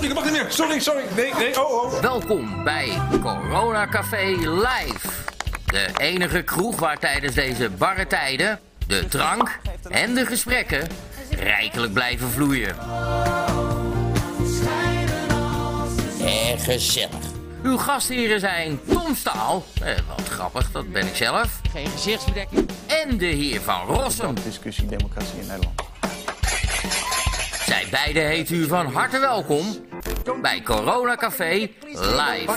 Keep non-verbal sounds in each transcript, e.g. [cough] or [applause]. niet, dat mag niet meer. Oh, Sorry, sorry. Nee, nee, oh, oh. Welkom bij Corona Café Live. De enige kroeg waar tijdens deze barre tijden de drank en de gesprekken rijkelijk blijven vloeien. En gezellig. Uw gastheren zijn Tom Staal, eh, wat grappig, dat ben ik zelf, Geen gezichtsbedekking. en de heer van Rossum. discussie democratie in Nederland. Zij beiden heet u van harte welkom bij Corona Café Live.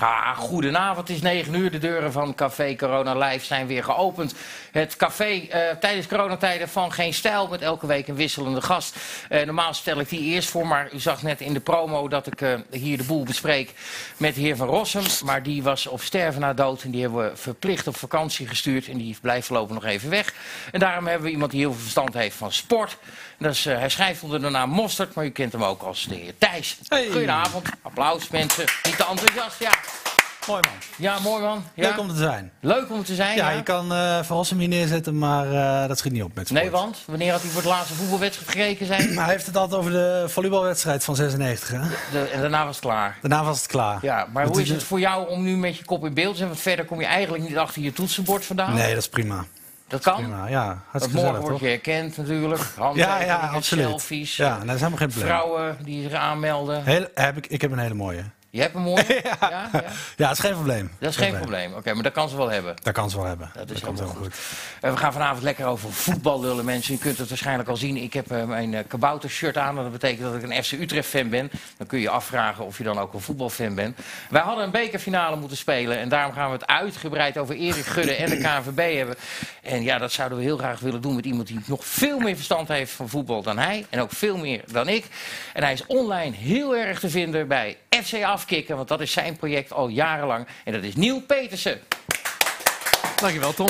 Ah, goedenavond, het is 9 uur. De deuren van Café Corona Live zijn weer geopend. Het café eh, tijdens coronatijden van Geen Stijl, met elke week een wisselende gast. Eh, normaal stel ik die eerst voor, maar u zag net in de promo dat ik eh, hier de boel bespreek met de heer Van Rossum. Maar die was op sterven na dood en die hebben we verplicht op vakantie gestuurd. En die blijft voorlopig nog even weg. En daarom hebben we iemand die heel veel verstand heeft van sport. En Dat is, eh, hij schrijft onder de naam Mostert, maar u kent hem ook als de heer Thijs. Goedenavond, applaus mensen. Niet te enthousiast, ja. Mooi man. Ja, mooi man. Ja. Leuk om er te zijn. Leuk om te zijn. Ja, ja. je kan eh Van Rossum hier neerzetten, maar eh, dat schiet niet op met sport. Nee, want wanneer had hij voor het laatste voetbalwedstrijd gekeken zijn? Maar hij heeft het altijd over de volleybalwedstrijd van 96, hè? De- en daarna was het klaar. Daarna was het klaar. Ja, maar Dat hoe is het voor jou om nu met je kop in beeld te zijn? Want verder kom je eigenlijk niet achter je toetsenbord vandaan. Nee, dat is prima. dat kan. prima. Ja, Dat hartstikke nou? morgen gezellig, word toch? je herkend natuurlijk. Ja, Handtekeningen, ja, absoluut. selfies. Ja, nou, dat is helemaal geen probleem. Vrouwen die zich aanmelden. Hele- heb ik, ik heb een hele mooie. Je hebt een mooie. ja. Ja, [laughs] Ja, dat is geen probleem. Dat is geen probleem. Oké, maar dat kan ze wel hebben. Dat kan ze wel hebben. Dat is kan ze helemaal wel goed. Eh, we gaan vanavond lekker over voetbal lullen, mensen. U kunt het waarschijnlijk al zien. Ik heb eh, mijn kabouter kaboutershirt aan. en Dat betekent dat ik een FC Utrecht-fan ben. Dan kun je je afvragen of je dan ook een voetbalfan bent. Wij hadden een bekerfinale moeten spelen. En daarom gaan we het uitgebreid over Erik Gudde en de KNVB hebben. En ja, dat zouden we heel graag willen doen met iemand die nog veel meer verstand heeft van voetbal dan hij. En ook veel meer dan ik. En hij is online heel erg te vinden bij FC Afkikken. Want dat is zijn project al jarenlang. En dat is Neil Petersen. Dankjewel, Tom.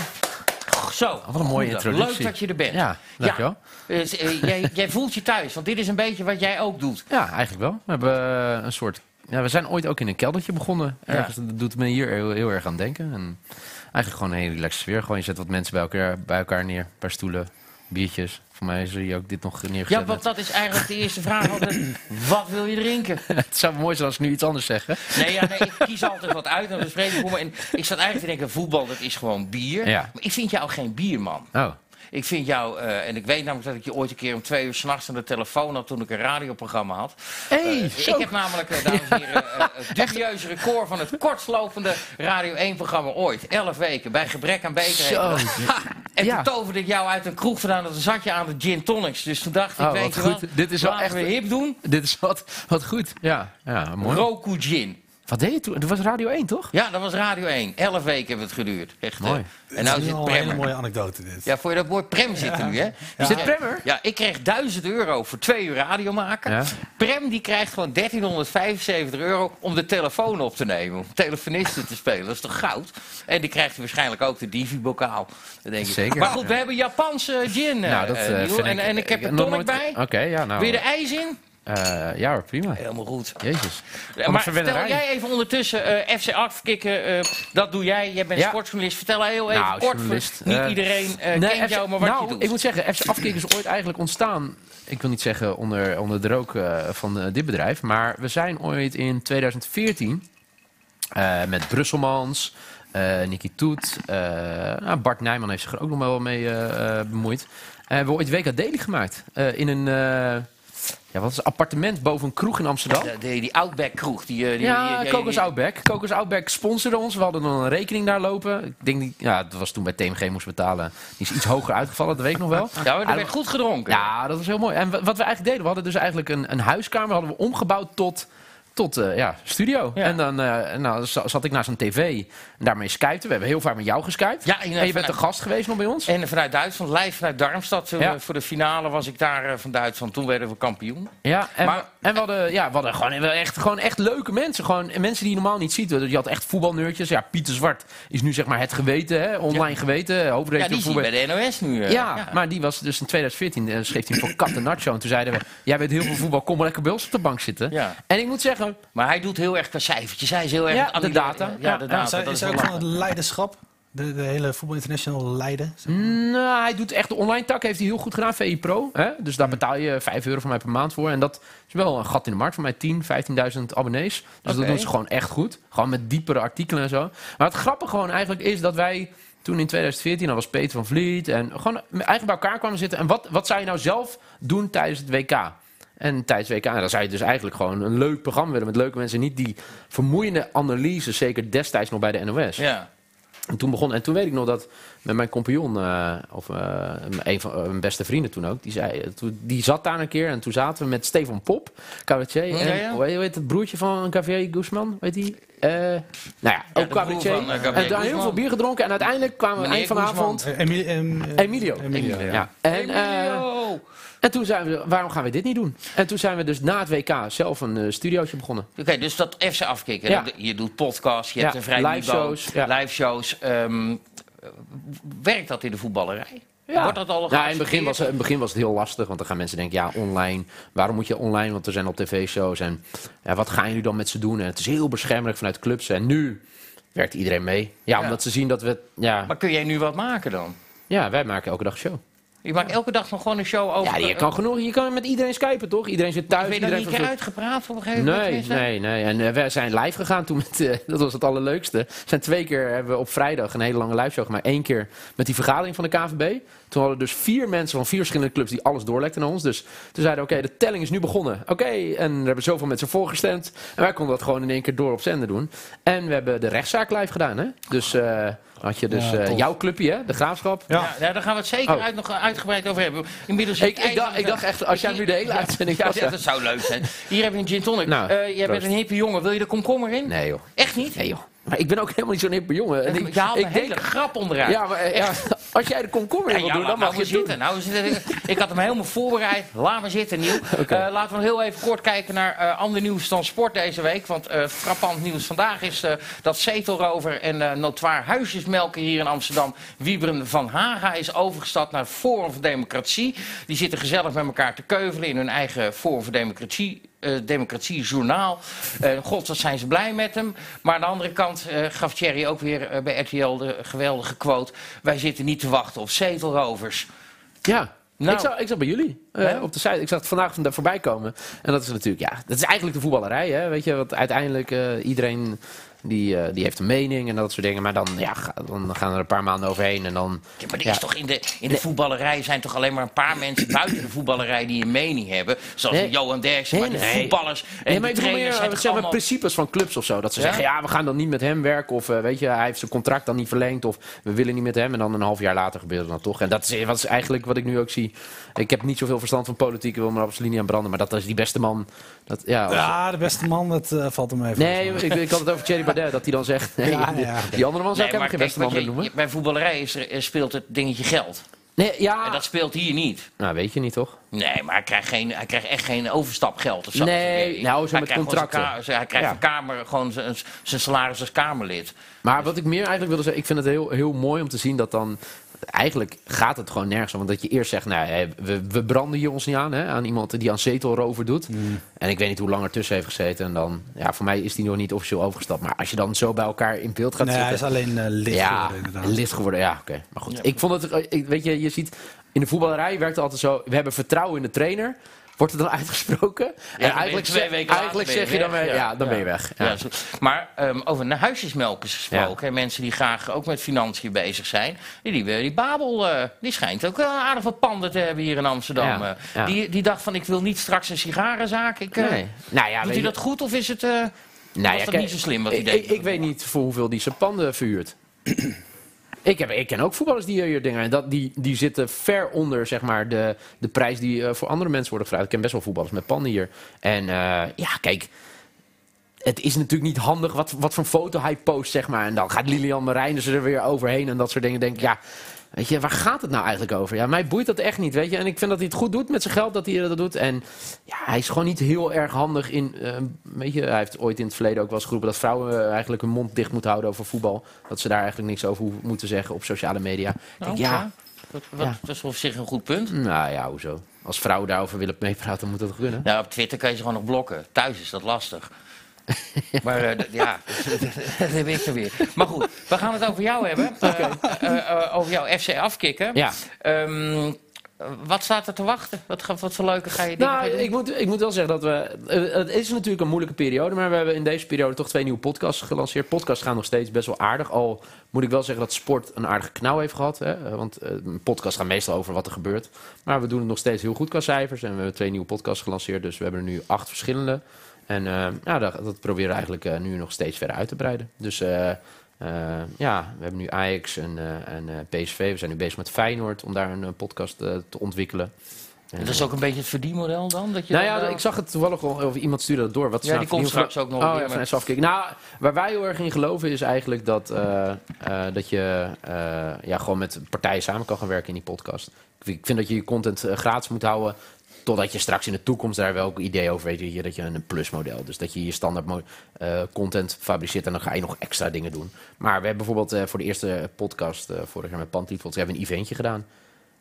Zo, Wat een mooie Goedendag. introductie. Leuk dat je er bent. Ja, dankjewel. Ja, dus, eh, jij, jij voelt je thuis, want dit is een beetje wat jij ook doet. Ja, eigenlijk wel. We hebben eh, een soort... Ja, we zijn ooit ook in een keldertje begonnen. Ja. Ergens, Dat doet me hier heel, heel erg aan denken. En eigenlijk gewoon een hele relaxed sfeer. Gewoon, je zet wat mensen bij elkaar, bij elkaar neer. Een paar stoelen, biertjes. Voor mij is er hier ook dit nog neergezet. Ja, want dat is eigenlijk de eerste vraag altijd. Wat wil je drinken? [laughs] Het zou mooi zijn als ik nu iets anders zeg. hè? Nee, ja, nee, ik kies altijd wat uit en bespreek ik voor me. En ik zat eigenlijk te denken, voetbal dat is gewoon bier. Ja. Maar ik vind jou geen bierman. Oh, Ik vind jou, eh, en ik weet namelijk dat ik je ooit een keer om twee uur s'nachts aan de telefoon had toen ik een radioprogramma had. Hey, Eh, zo. ik heb namelijk, eh, dames en heren, eh, het dubieuze record van het kortlopende Radio 1-programma ooit. Elf weken, bij gebrek aan zo. beter. En Ja. toen toverde ik jou uit een kroeg vandaan, dat zat je aan de gin tonics. Dus toen dacht ik, Oh, weet wat je goed. wat, Dit is wel laten echt- we hip doen. Dit is wat, wat goed. Ja, ja mooi. Roku Gin. Wat deed je toen? Dat was Radio 1, toch? Ja, dat was Radio 1. Elf weken hebben we het geduurd. Echt, eh, Mooi. en Dat nou is zit wel een hele Premmer. mooie anekdote, dit. Ja, voor je dat woord Prem zit er nu, hè? Is dit Premmer? Ja, ik kreeg 1000 euro voor twee uur radio maken. Ja. Prem die krijgt gewoon 1375 euro om de telefoon op te nemen. Om telefonisten te spelen. Dat is toch goud? En die krijgt waarschijnlijk ook de Divi-bokaal. Dat denk ik. Zeker, Maar goed, ja. we hebben Japanse gin. eh, Nou, dat eh, eh, Niel. vind en, en ik heb er nog tonic nooit- bij. Oké, ja, nou. Wil je er ijs in? eh, ja, hoor, prima. Helemaal goed. Jezus. Wat een maar vertel verwennerij. jij even ondertussen, eh, FC afkicken, eh, dat doe jij. Jij bent Ja. sportjournalist. Vertel heel even Nou, kort. voor- journalist, Niet eh, iedereen eh, kent FC jou, maar wat nou, je doet. ik moet zeggen, FC Afkikken is ooit eigenlijk ontstaan. Ik wil niet zeggen onder, onder de rook eh, van eh, dit bedrijf. Maar we zijn ooit in 2014 eh, met Brusselmans, eh Nicky Toet. eh, nou, Bart Nijman heeft zich er ook nog wel mee eh, eh, bemoeid. Eh, hebben we ooit WK Daily gemaakt. eh, in een eh, ja, wat is het, appartement boven een kroeg in Amsterdam. Ja, die, die Outback kroeg. Die, eh, die, die- Ja, die- Kokos die- Outback. Kokos Outback sponsorde ons. We hadden dan een rekening daar lopen. Ik denk niet, ja, dat was toen bij TMG moest betalen. Die is iets hoger uitgevallen, dat weet ik nog wel. [laughs] Ja, maar er werd goed gedronken. Ja, dat was heel mooi. En wa- wat we eigenlijk deden, we hadden dus eigenlijk een, een huiskamer hadden we omgebouwd tot, tot eh, ja, studio. Ja. En dan eh, nou, za- zat ik naast een tv en daarmee skypten. We hebben heel vaak met jou geskypt. Ja, en, eh, en je bent vanuit- de gast geweest nog bij ons. En vanuit Duitsland, live vanuit Darmstad. eh, Ja. Voor de finale was ik daar eh, van Duitsland. Toen werden we kampioen. Ja, en, Maar- en we hadden, ja, we hadden gewoon, wel echt, gewoon echt leuke mensen. Gewoon mensen die je normaal niet ziet. Je had echt voetbalneurtjes. Ja, Pieter Zwart is nu zeg maar het geweten, hè, online geweten. Ja, Hoofdredacteur die zie je voetbal. bij de NOS nu. eh. Ja, maar die was dus in 2014, eh, schreef hij voor Kat en Nacho. En toen zeiden we, jij weet heel veel voetbal, kom maar lekker bij ons op de bank zitten. Ja. En ik moet zeggen, Maar hij doet heel erg qua cijfertjes. Hij is heel erg... Ja, aan het de data. analyseren. Ja, de Ja, data. Is hij, dat is is hij wel ook van lachen. het leiderschap? De, de hele Voetbal International Leiden. Hm? Nou, hij doet echt de online tak, heeft hij heel goed gedaan, VI Pro. Hè? Dus daar betaal je 5 euro voor mij per maand voor. En dat is wel een gat in de markt voor mij, 10, 15.000 abonnees. Dus dat Oké. doen ze gewoon echt goed. Gewoon met diepere artikelen en zo. Maar het grappige gewoon eigenlijk is dat wij toen in 2014, al was Peter van Vliet... en gewoon eigenlijk bij elkaar kwamen zitten. En wat, wat zou je nou zelf doen tijdens het WK? En tijdens WK, dan zou je dus eigenlijk gewoon een leuk programma willen... met leuke mensen, niet die vermoeiende analyses... zeker destijds nog bij de NOS. Ja. En toen begon, en toen weet ik nog dat met mijn compagnon, eh, of eh, een van eh, mijn beste vrienden toen ook, die, zei, eh, toen- die zat daar een keer en toen zaten we met Stefan Pop, cabaretier, Oh, Ja, en ja. Hoe, heet, hoe heet het broertje van Javier Guzman, weet die? Eh, nou ja, ook de broer cabaretier. van, eh, Javier en daar heel Guzman. veel bier gedronken en uiteindelijk kwamen we Meneer eind van de Guzman. avond... Eh, Emil- em- eh, Emilio. Emilio, ja. Ja. En, eh, en toen zijn we, waarom gaan we dit niet doen? En toen zijn we dus na het WK zelf een eh, studiootje begonnen. Oké, dus dat even afkicken. Ja. Dat- Je doet podcasts, je Ja, hebt een vrij live niveau, shows, ja. live shows. ehm, werkt dat in de voetballerij? Wordt dat al nou, in, het begin was, in geaccepteerd? het begin was het heel lastig, want dan gaan mensen denken, ja, online. Waarom moet je online? Want er zijn al tv-shows en ja, wat gaan jullie dan met ze doen? En het is heel beschermelijk vanuit clubs. En nu werkt iedereen mee. Ja, Ja. omdat ze zien dat we... Ja, Maar kun jij nu wat maken dan? ja, wij maken elke dag een show. Je maakt elke dag nog gewoon een show Ja, over... je kan genoeg. Je kan met iedereen skypen, toch? Iedereen zit thuis. Ben je daar iedereen niet een keer uitgepraat op een gegeven moment? Nee, tenminste? nee, nee. En eh, we zijn live gegaan toen met, eh, [laughs] dat was het allerleukste. We zijn twee keer eh, hebben we op vrijdag een hele lange live show gemaakt. Eén keer met die vergadering van de KVB. Toen hadden dus vier mensen van vier verschillende clubs die alles doorlekten naar ons. Dus toen zeiden we, oké, de telling is nu begonnen. Oké, en er hebben zoveel mensen voorgestemd. En wij konden dat gewoon in één keer door op zender doen. En we hebben de rechtszaak live gedaan, hè. Dus eh, dan had je dus Ja, eh, tof. jouw clubje, hè, de Graafschap. Ja. nou, daar gaan we het zeker Oh. uit, nog uitgebreid over hebben. Inmiddels Ik, ik, dacht, ik dacht echt, als jij nu de hele uitzending Ja, was... dat, dat zou leuk zijn. Hier heb je een gin tonic. Nou, Eh, jij bent proost. een hippe jongen. Wil je de komkommer in? Nee, joh. Echt niet? Nee, joh. Maar ik ben ook helemaal niet zo'n hippe jongen. En Ik, je haalt een denk- hele grap onderuit. Ja, maar eh, ja, [laughs] als jij de komkommer in Ja, wil doen, laat dan nou mag je maar zitten. het doen. Nou, we zitten- ik had hem helemaal voorbereid. Laat maar zitten, Nieuw. Oké. Eh, laten we nog heel even kort kijken naar eh, ander nieuws dan sport deze week. Want eh, frappant nieuws vandaag is eh, dat Zetelrover en eh notoir huisjesmelker hier in Amsterdam... Wiebren van Haga is overgestapt naar Forum voor Democratie. Die zitten gezellig met elkaar te keuvelen in hun eigen Forum voor Democratie... eh, democratiejournaal. Eh, God, wat zijn ze blij met hem. Maar aan de andere kant eh, gaf Thierry ook weer eh, bij RTL de geweldige quote... wij zitten niet te wachten op zetelrovers. Ja. Nou. Ik, zag, ik zag bij jullie eh, Ja. op de site. Ik zag het vandaag van daar voorbij komen. En dat is natuurlijk, ja, dat is eigenlijk de voetballerij. Hè? Weet je, want uiteindelijk eh, iedereen die, eh, die heeft een mening en dat soort dingen. Maar dan, ja, ga- dan gaan er een paar maanden overheen en dan. Ja, maar er Ja. is toch in, de, in de voetballerij zijn toch alleen maar een paar [clears throat] mensen buiten de voetballerij die een mening hebben. Zoals Nee. Johan Derksen, Nee, maar de nee. voetballers en Nee, maar de ik bedoel meer trainers eh, zijn toch zeg maar, allemaal... principes van clubs of zo. Dat ze Ja? zeggen, ja, we gaan dan niet met hem werken. Of eh, weet je, hij heeft zijn contract dan niet verlengd. Of we willen niet met hem. En dan een half jaar later gebeurt het dan toch. En dat is, wat is eigenlijk wat ik nu ook zie. Ik heb niet zoveel verstand van politiek. Ik wil me er absoluut niet aan branden. Maar dat is die beste man. Dat, ja, als- Ja, de beste man, dat eh, valt hem even. Nee, ik, ik had het [laughs] over Thierry Baudet. Dat hij dan zegt, nee, Ja, ja. [laughs] die andere man zou ik Nee, helemaal maar kijk, geen beste man wat je- willen noemen. je- bij voetballerij is er, eh, speelt het dingetje geld. Nee, En ja. dat speelt hier niet. Nou, weet je niet toch? Nee, maar hij krijgt, geen, hij krijgt echt geen overstapgeld of zo. Nee, nou, zo Hij met krijgt gewoon zijn contracten. ka- hij krijgt Ja. een kamer, gewoon zijn, zijn salaris als Kamerlid. Maar wat ik meer eigenlijk wilde zeggen, ik vind het heel, heel mooi om te zien dat dan. Eigenlijk gaat het gewoon nergens om. Want dat je eerst zegt, nou, hè, we, we branden hier ons niet aan. Hè, aan iemand die aan zetelrover doet. Hmm. En ik weet niet hoe lang er tussen heeft gezeten. En dan, ja, voor mij is die nog niet officieel overgestapt. Maar als je dan zo bij elkaar in beeld gaat Nee, hij zitten. is alleen eh, lid ja, geworden, inderdaad. lid geworden. Ja, oké. Maar goed, ik vond het, eh, ik- weet je, je ziet, in de voetballerij werkt het altijd zo. We hebben vertrouwen in de trainer. Wordt het dan [laughs] uitgesproken? ben en je eigenlijk, twee zeg- weken later eigenlijk ben je zeg je dan weg, weer, ja, ja. dan ben je weg. Ja. Ja. zo- maar ehm, over naar huisjesmelkers gesproken. hè, mensen die graag ook met financiën bezig zijn. Die, die, die Babel eh, die schijnt ook wel aardig wat panden te hebben hier in Amsterdam. Ja, eh. ja. Die, die dacht van ik wil niet straks een sigarenzaak. Ik, eh, Nee. Nou doet ja, weet hij je- dat goed of is het... eh, Nou Was dat kijk, niet zo slim wat hij ik, deed? Ik, ik weet niet voor hoeveel die zijn panden verhuurt. [clears throat] ik, heb, ik ken ook voetballers die eh, hier dingen. en Dat, die, die zitten ver onder zeg maar, de, de prijs die eh, voor andere mensen worden gevraagd. Ik ken best wel voetballers met panden hier. En eh, ja, kijk. Het is natuurlijk niet handig wat, wat voor foto hij post, zeg maar. En dan gaat Lilian Marijnen er weer overheen en dat soort dingen. Denk ik, ja, weet je, waar gaat het nou eigenlijk over? Ja, mij boeit dat echt niet, weet je. En ik vind dat hij het goed doet met zijn geld, dat hij dat doet. En ja, hij is gewoon niet heel erg handig in. eh, weet je, hij heeft ooit in het verleden ook wel eens geroepen dat vrouwen eh, eigenlijk hun mond dicht moeten houden over voetbal. Dat ze daar eigenlijk niks over hoeven- moeten zeggen op sociale media. Ik denk, nou, ja, Dat, wat- Ja. dat is op zich een goed punt. nou ja, hoezo? Als vrouwen daarover willen meepraten, moet dat kunnen. [laughs] Nou, op Twitter kan je ze gewoon nog blokken. Thuis is dat lastig. Maar eh, d- ja, [laughs] dat heb ik er weer. Maar goed, we gaan het over jou [laughs] hebben. Eh, eh, eh, over jouw FC afkikken. Ja. Ehm, wat staat er te wachten? Wat, ga- wat voor leuke ga je dingen Nou, weer doen? ik moet, ik moet wel zeggen dat we. eh, Het is natuurlijk een moeilijke periode, maar we hebben in deze periode toch twee nieuwe podcasts gelanceerd. Podcasts gaan nog steeds best wel aardig. Al moet ik wel zeggen dat sport een aardige knauw heeft gehad. Hè? Eh, Want eh, podcasts gaan meestal over wat er gebeurt. Maar we doen het nog steeds heel goed qua cijfers. En we hebben twee nieuwe podcasts gelanceerd. Dus we hebben er nu acht verschillende. En eh, ja, dat, dat proberen we eigenlijk eh, nu nog steeds verder uit te breiden. Dus. eh, eh, ja, we hebben nu Ajax en, eh, en eh, PSV. We zijn nu bezig met Feyenoord om daar een eh, podcast eh, te ontwikkelen. En, Dat is ook een beetje het verdienmodel dan? Dat je nou dan, ja, eh, ik zag het toevallig al, of iemand stuurde dat door. Wat is Ja, nou die komt vernieuwd- straks ook nog Oh weer, ja, van maar- SC afkicken. Nou, waar wij heel erg in geloven is eigenlijk dat, eh, eh, dat je eh, ja, gewoon met partijen samen kan gaan werken in die podcast. Ik vind- Ik vind dat je je content eh, gratis moet houden. Totdat je straks in de toekomst daar wel ook idee over weet. Je, dat je een plusmodel. Dus dat je je standaard mo- eh, content fabriceert. En dan ga je nog extra dingen doen. Maar we hebben bijvoorbeeld eh, voor de eerste podcast. eh, vorig jaar met Pantiefels. hebben we een eventje gedaan.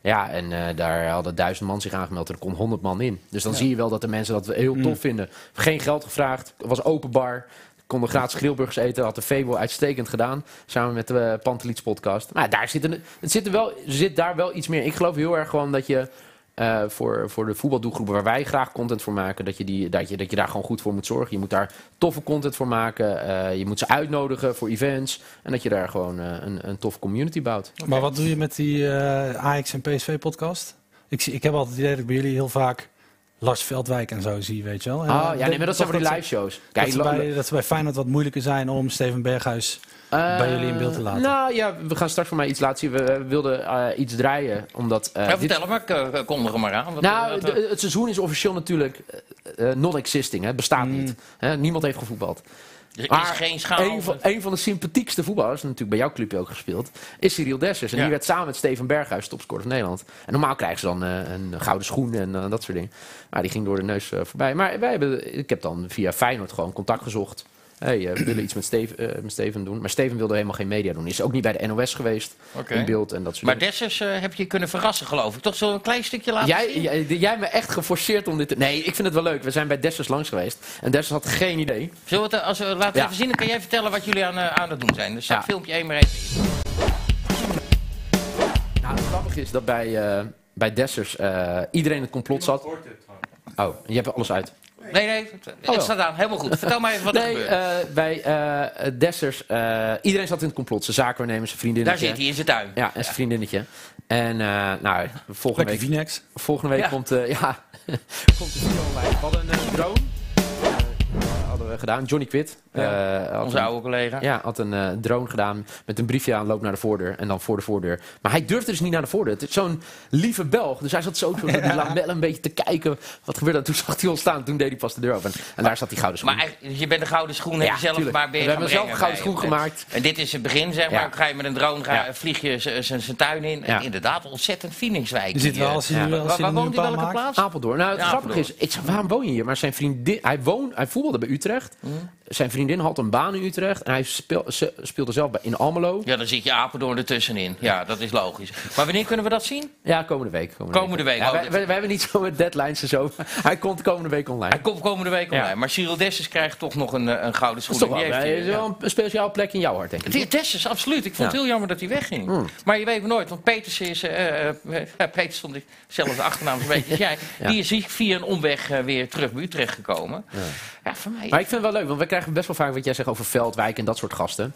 Ja, en eh, daar hadden duizend man zich aangemeld en er kon honderd man in. Dus dan zie je wel dat de mensen dat heel tof vinden. Geen geld gevraagd, was open bar. Konden gratis grillburgers eten, had de Febo uitstekend gedaan. Samen met de eh, Panteliets podcast. Maar daar zit, een, het zit, er wel, zit daar wel iets meer. in. Ik geloof heel erg gewoon dat je eh, voor, voor de voetbaldoelgroepen waar wij graag content voor maken, dat je, die, dat, je, dat je daar gewoon goed voor moet zorgen. Je moet daar toffe content voor maken. eh, je moet ze uitnodigen voor events. En dat je daar gewoon eh, een, een toffe community bouwt. Maar wat doe je met die eh Ajax en PSV podcast? Ik, zie, ik heb altijd het idee dat ik bij jullie heel vaak Lars Veldwijk en zo zie, weet je wel. En, Ah, eh, ja, nee, maar dat zijn voor die ze- live shows. dat, ze bij, dat ze bij Feyenoord wat moeilijker zijn om Steven Berghuis... eh, bij jullie in beeld te laten. Nou ja, we gaan straks voor mij iets laten zien. We, eh, wilden eh, iets draaien, omdat... eh, Ja, dit- vertel het maar, k- eh, kondig hem maar aan. Wat- nou, wat- de- het seizoen is officieel natuurlijk eh, eh, non-existing. hè. Het bestaat Mm. niet. Hè, niemand heeft gevoetbald. er is maar geen schaal. Een van, een van de sympathiekste voetballers, natuurlijk bij jouw club ook gespeeld, is Cyril Dessers. En Ja. die werd samen met Steven Berghuis topscorer van Nederland. En normaal krijgen ze dan eh, een gouden schoen en eh, dat soort dingen. Maar die ging door de neus eh, voorbij. Maar wij hebben, ik heb dan via Feyenoord gewoon contact gezocht. Hey, eh, we willen iets met, Steve, eh, met Steven doen. Maar Steven wilde helemaal geen media doen. Is ook niet bij de NOS geweest Oké. in beeld en dat soort Maar dingen. Dessers eh, heb je kunnen verrassen, geloof ik. Toch zo'n een klein stukje laten zien? Jij, jij, jij hebt me echt geforceerd om dit te... Nee, ik vind het wel leuk. We zijn bij Dessers langs geweest. En Dessers had geen idee. Zullen we het, eh, als we laten we Ja. even zien, dan kan jij vertellen wat jullie aan, eh, aan het doen zijn. Dus staat Ja. filmpje 1 maar even. Nou, het grappige is dat bij, eh, bij Dessers eh, iedereen het complot zat. Oh, je hebt er alles uit. Nee, nee, het, het Oh, wel. staat aan. Helemaal goed. Vertel maar even wat er nee, gebeurt. eh, bij eh, Dessers, eh, iedereen zat in het complot. Zijn zaakwaarnemer, zijn Daar vriendinnetje. zit hij in zijn tuin. Ja, en zijn vriendinnetje. En eh, nou, volgende Lekker week, Vinex. volgende week Ja. komt, eh, ja, [laughs] komt de video online. We hadden een eh, drone. eh, hadden we gedaan. Johnny Quid. Ja, eh, had Onze een- oude collega. Ja, had een eh, drone gedaan met een briefje aan, loop naar de voordeur en dan voor de voordeur. Maar hij durfde dus niet naar de voordeur. Het is zo'n lieve Belg. Dus hij zat zo met die lamellen een beetje te kijken. Wat gebeurde er? Toen zag hij ons staan, toen deed hij pas de deur open. En daar zat dus die gouden schoen. Maar eigenlijk, je bent een gouden schoen, heb Ja, je zelf tuurlijk. gemaakt. Ben je We gaan hebben zelf brengen een gouden bij schoen hem. gemaakt. En dit is het begin, zeg Ja. maar. Ga je met een drone, ga, Ja. vlieg je zijn tuin in. En Ja. inderdaad, ontzettend Phoenixwijk. Je zit wel, als je, ja. nu- als Waar, je waar er nu woont een hij? paar Welke maakt... plaats? Apeldoorn. Nou, het Ja, grappige is, Apeldoorn. ik zei, waarom woon je hier? Maar zijn vriendin, hij, woon, hij voetbalde bij Utrecht. Mm. Zijn vriendin had een baan in Utrecht. En hij speel- ze- speelde zelf bij, in Almelo. Ja, Ja, dan zit je Apeldoorn ertussenin. Ja, dat is logisch. Maar wanneer kunnen we dat zien? komende week. Komende week, Ja, oh, wij- dit- wij- wij hebben niet zo met deadlines en zo. Hij komt komende week online. Hij komt komende week online. Ja. Maar Cyril Dessers krijgt toch nog een, eh, een gouden Dat schoen. is toch En wel, die heeft eh, hij eh, hij- is wel een een speciaal plek in jouw hart, denk ik. Het is Dessers, absoluut. Ik vond het Ja. Hmm. heel jammer dat hij wegging. Maar je weet maar nooit, want Peters is... eh eh, eh, Peters stond ik zelf de achternaam [laughs] is een beetje als jij. Ja. Die is hier via een omweg eh, weer terug bij Utrecht gekomen. Ja, voor mij... Maar ik vind het wel leuk, want we krijgen best wel vaak wat jij zegt over Veldwijk en dat soort gasten.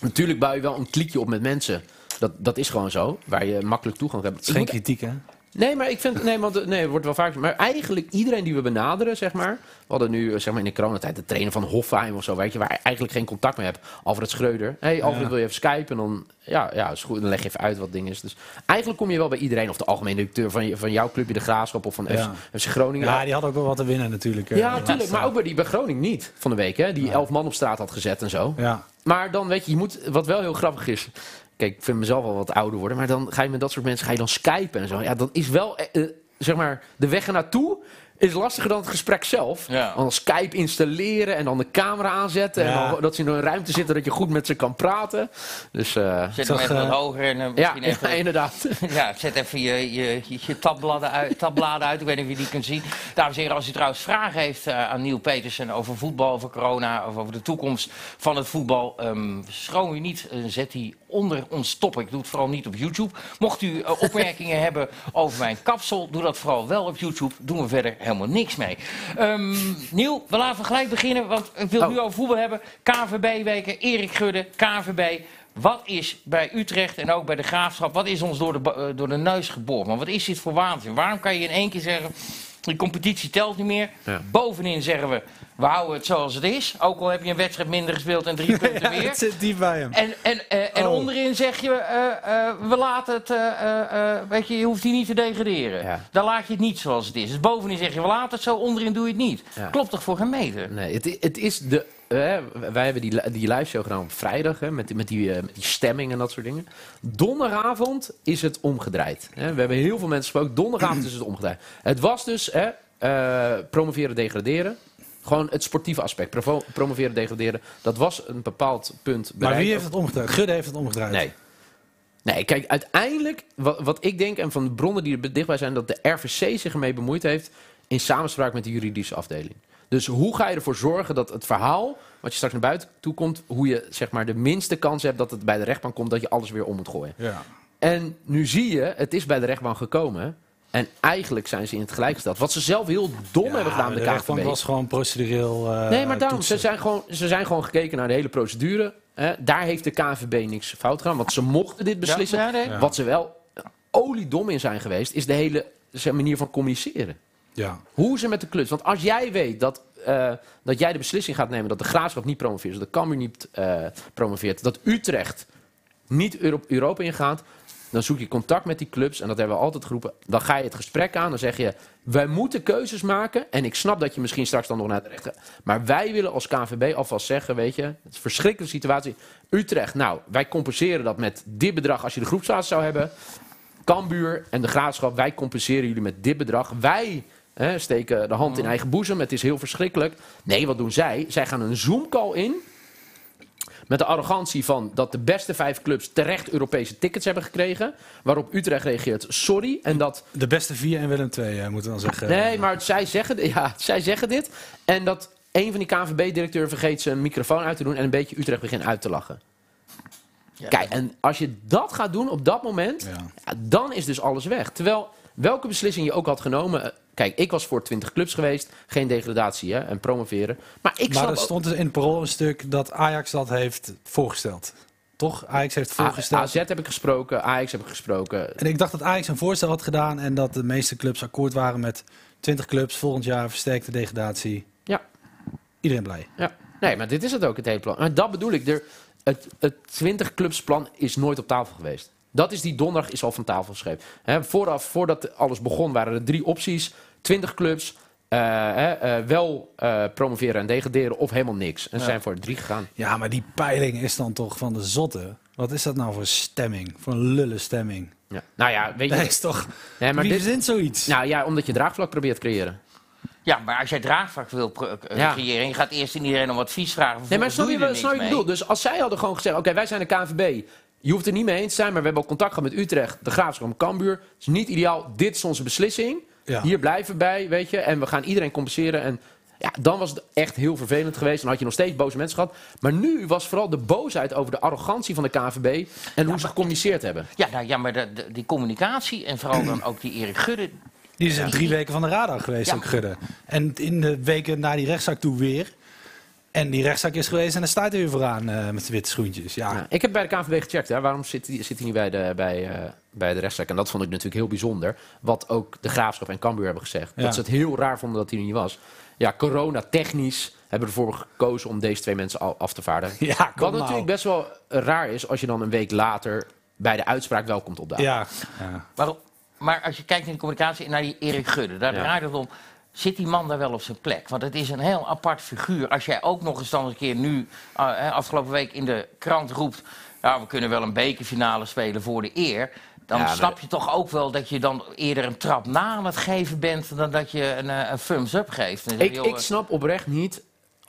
Natuurlijk bouw je wel een kliekje op met mensen. Dat, dat is gewoon zo, waar je makkelijk toegang hebt. Het is geen kritiek, hè? Nee, maar ik vind. Nee, want eh, nee, het wordt wel vaak. Maar eigenlijk iedereen die we benaderen, zeg maar. We hadden nu eh, zeg maar in de coronatijd de trainer van Hofheim of zo, weet je, waar je eigenlijk geen contact mee hebt. Alfred Schreuder. Hé, hey, Alfred, wil je even Skype? En dan, ja, ja, is goed. Dan leg je even uit wat ding is. Dus eigenlijk kom je wel bij iedereen, of de algemene directeur van, je- van jouw clubje, de Graafschap of van Ja. FC, Groningen. Ja, die had ook wel wat te winnen natuurlijk. eh, Ja, de natuurlijk. Maar laatste. ook bij die bij Groningen niet van de week, hè? Die elf man op straat had gezet en zo. Ja. Maar dan weet je, je moet, wat wel heel grappig is. Kijk, ik vind mezelf al wat ouder worden, maar dan ga je met dat soort mensen ga je dan skypen en zo. Ja, dat is wel eh, eh, zeg maar de weg ernaartoe. is lastiger dan het gesprek zelf. Ja. Want als Skype installeren en dan de camera aanzetten. En Ja. dan, dat ze in een ruimte zitten dat je goed met ze kan praten. Dus eh, Zet hem zag, even wat eh, hoger en eh, ja, misschien ja, even... inderdaad. [laughs] Ja, zet even je, je, je- je tabbladen, uit, tabbladen uit. Ik weet niet of je die kunt zien. Dames en heren, als u trouwens vragen heeft eh, aan Neil Petersen over voetbal, over corona... of over de toekomst van het voetbal, ehm schroom u niet. eh, zet die onder ons topic. Doe het vooral niet op YouTube. Mocht u eh, opmerkingen [laughs] hebben over mijn kapsel, doe dat vooral wel op YouTube. Doen we verder helemaal niks mee. Ehm Neil, we laten gelijk beginnen, want ik wil Oh. nu over voetbal hebben. KVB-weken, Erik Gudde, KVB... Wat is bij Utrecht en ook bij de Graafschap, wat is ons door de, ba- eh, door de neus geboord? Maar wat is dit voor waanzin? Waarom kan je in één keer zeggen, die competitie telt niet meer? Ja. Bovenin zeggen we, we houden het zoals het is. Ook al heb je een wedstrijd minder gespeeld en [laughs] drie punten Ja, het meer. zit diep bij hem. En, en, eh, en Oh. onderin zeg je, eh, eh, we laten het, eh, eh, eh, weet je, je hoeft hier niet te degraderen. Ja. Dan laat je het niet zoals het is. Dus bovenin zeg je, we laten het zo, onderin doe je het niet. Ja. Klopt toch voor geen meter? Nee, het, i- het is de. eh, wij hebben die, li- die live show gedaan op vrijdag. Hè, met, die- met, die, eh, met die stemming en dat soort dingen. Donderdagavond is het omgedraaid. Hè. We hebben heel veel mensen gesproken. Donderdagavond is het omgedraaid. Het was dus hè, eh, promoveren, degraderen. Gewoon het sportieve aspect. Provo- promoveren, degraderen. Dat was een bepaald punt. Maar bereikt. wie heeft het omgedraaid? Gudde heeft het omgedraaid. Nee. Nee, kijk, uiteindelijk, wat, wat ik denk, en van de bronnen die er dichtbij zijn, dat de RVC zich ermee bemoeid heeft in samenspraak met de juridische afdeling. Dus hoe ga je ervoor zorgen dat het verhaal, wat je straks naar buiten toe komt, hoe je zeg maar de minste kans hebt dat het bij de rechtbank komt, dat je alles weer om moet gooien. Ja. En nu zie je, het is bij de rechtbank gekomen. En eigenlijk zijn ze in het gelijk gesteld. Wat ze zelf heel dom hebben gedaan, de, de de rechtbank was gewoon procedureel. eh, Nee, maar daarom, toetsen. ze zijn, gewoon, ze zijn gewoon gekeken naar de hele procedure. Hè. Daar heeft de KVB niks fout gedaan, want ze mochten dit beslissen. Ja, ja, nee. Ja. Wat ze wel oliedom in zijn geweest, is de hele zeg, manier van communiceren. Ja. Hoe ze met de klus. Want als jij weet dat, eh, dat jij de beslissing gaat nemen dat de Graafschap niet promoveert, dat de Cambuur niet eh, promoveert, dat Utrecht niet Euro- Europa ingaat, dan zoek je contact met die clubs en dat hebben we altijd geroepen. Dan ga je het gesprek aan, dan zeg je: wij moeten keuzes maken. En ik snap dat je misschien straks dan nog naar de rechter. Maar wij willen als KVB alvast zeggen: weet je, het is een verschrikkelijke situatie. Utrecht, nou, wij compenseren dat met dit bedrag als je de groepsraad zou hebben. Kambuur en de Graafschap, wij compenseren jullie met dit bedrag. Wij hè, steken de hand in eigen boezem. Het is heel verschrikkelijk. Nee, wat doen zij? Zij gaan een Zoom-call in. Met de arrogantie van dat de beste vijf clubs terecht Europese tickets hebben gekregen. Waarop Utrecht reageert sorry. En dat. De beste vier en Willem II, eh, moeten we dan zeggen. Nee, maar zij zeggen, ja, zij zeggen dit. [laughs] En dat een van die KVB-directeuren vergeet zijn microfoon uit te doen. En een beetje Utrecht begint uit te lachen. Ja. Kijk, en als je dat gaat doen op dat moment. Ja. Ja, dan is dus alles weg. Terwijl, welke beslissing je ook had genomen... eh, Kijk, ik was voor 20 clubs geweest. Geen degradatie hè, en promoveren. Maar ik maar er snap ook- stond dus in het parool een stuk dat Ajax dat heeft voorgesteld. Toch? Ajax heeft A- voorgesteld. AZ heb ik gesproken, Ajax heb ik gesproken. En ik dacht dat Ajax een voorstel had gedaan en dat de meeste clubs akkoord waren met 20 clubs. Volgend jaar versterkte degradatie. Ja. Iedereen blij. Ja. Nee, maar dit is het ook, het hele plan. Maar dat bedoel ik. Er, het, het 20-clubsplan is nooit op tafel geweest. Dat is die donderdag is al van tafel geschreven. Hè, vooraf, voordat alles begon, waren er drie opties. 20 clubs, eh, hè, eh, wel eh, promoveren en degraderen of helemaal niks. En ze zijn voor drie gegaan. Ja, maar die peiling is dan toch van de zotte. Wat is dat nou voor stemming? Voor een lulle stemming. Ja. Nou ja, weet je... Dat is toch... Nee, maar Wie dit- verzint zoiets? Nou ja, omdat je draagvlak probeert te creëren. Ja, maar als jij draagvlak wil pro- eh, Ja. creëren, en je gaat eerst in iedereen om advies vragen. Nee, maar vervolgens snap je doe er wat snap je wat niks ik mee. bedoel? Dus als zij hadden gewoon gezegd, oké, wij zijn de KNVB. Je hoeft er niet mee eens te zijn, maar we hebben al contact gehad met Utrecht, de Graafschap, Cambuur. Het is niet ideaal, dit is onze beslissing. Ja. Hier blijven we bij, weet je. En we gaan iedereen compenseren. En ja, dan was het echt heel vervelend geweest. Dan had je nog steeds boze mensen gehad. Maar nu was vooral de boosheid over de arrogantie van de KNVB en hoe ze gecommuniceerd hebben. Ja, nou, ja maar de- de- die communicatie en vooral dan ook die Erik Gudde. Die is in drie weken van de radar geweest, Ja. ook Gudde. En in de weken na die rechtszaak toe weer. En die rechtszaak is geweest en dan staat hij weer vooraan eh, met de witte schoentjes. Ja, Ja, ik heb bij de KNVB gecheckt, hè. waarom zit hij zit hij niet bij de, bij, eh, bij de rechtszaak? En dat vond ik natuurlijk heel bijzonder. Wat ook de Graafschap en Cambuur hebben gezegd. Ja. Dat ze het heel raar vonden dat hij er niet was. Ja, corona-technisch hebben we ervoor gekozen om deze twee mensen al af te [laughs] vaardigen. Ja, kom Wat nou. natuurlijk best wel raar is als je dan een week later bij de uitspraak wel komt opdagen. ja. ja. Waarom? Maar als je kijkt in de communicatie en naar die Erik Gudde, daar Ja. draait het om. Zit die man daar wel op zijn plek? Want het is een heel apart figuur. Als jij ook nog eens dan een keer nu, eh, hè, afgelopen week in de krant roept. Nou, we kunnen wel een bekerfinale spelen voor de eer. Dan Ja, maar- snap je toch ook wel dat je dan eerder een trap na aan het geven bent dan dat je een, eh, een thumbs up geeft. Dan zeg je, Ik, joh, ik snap oprecht niet,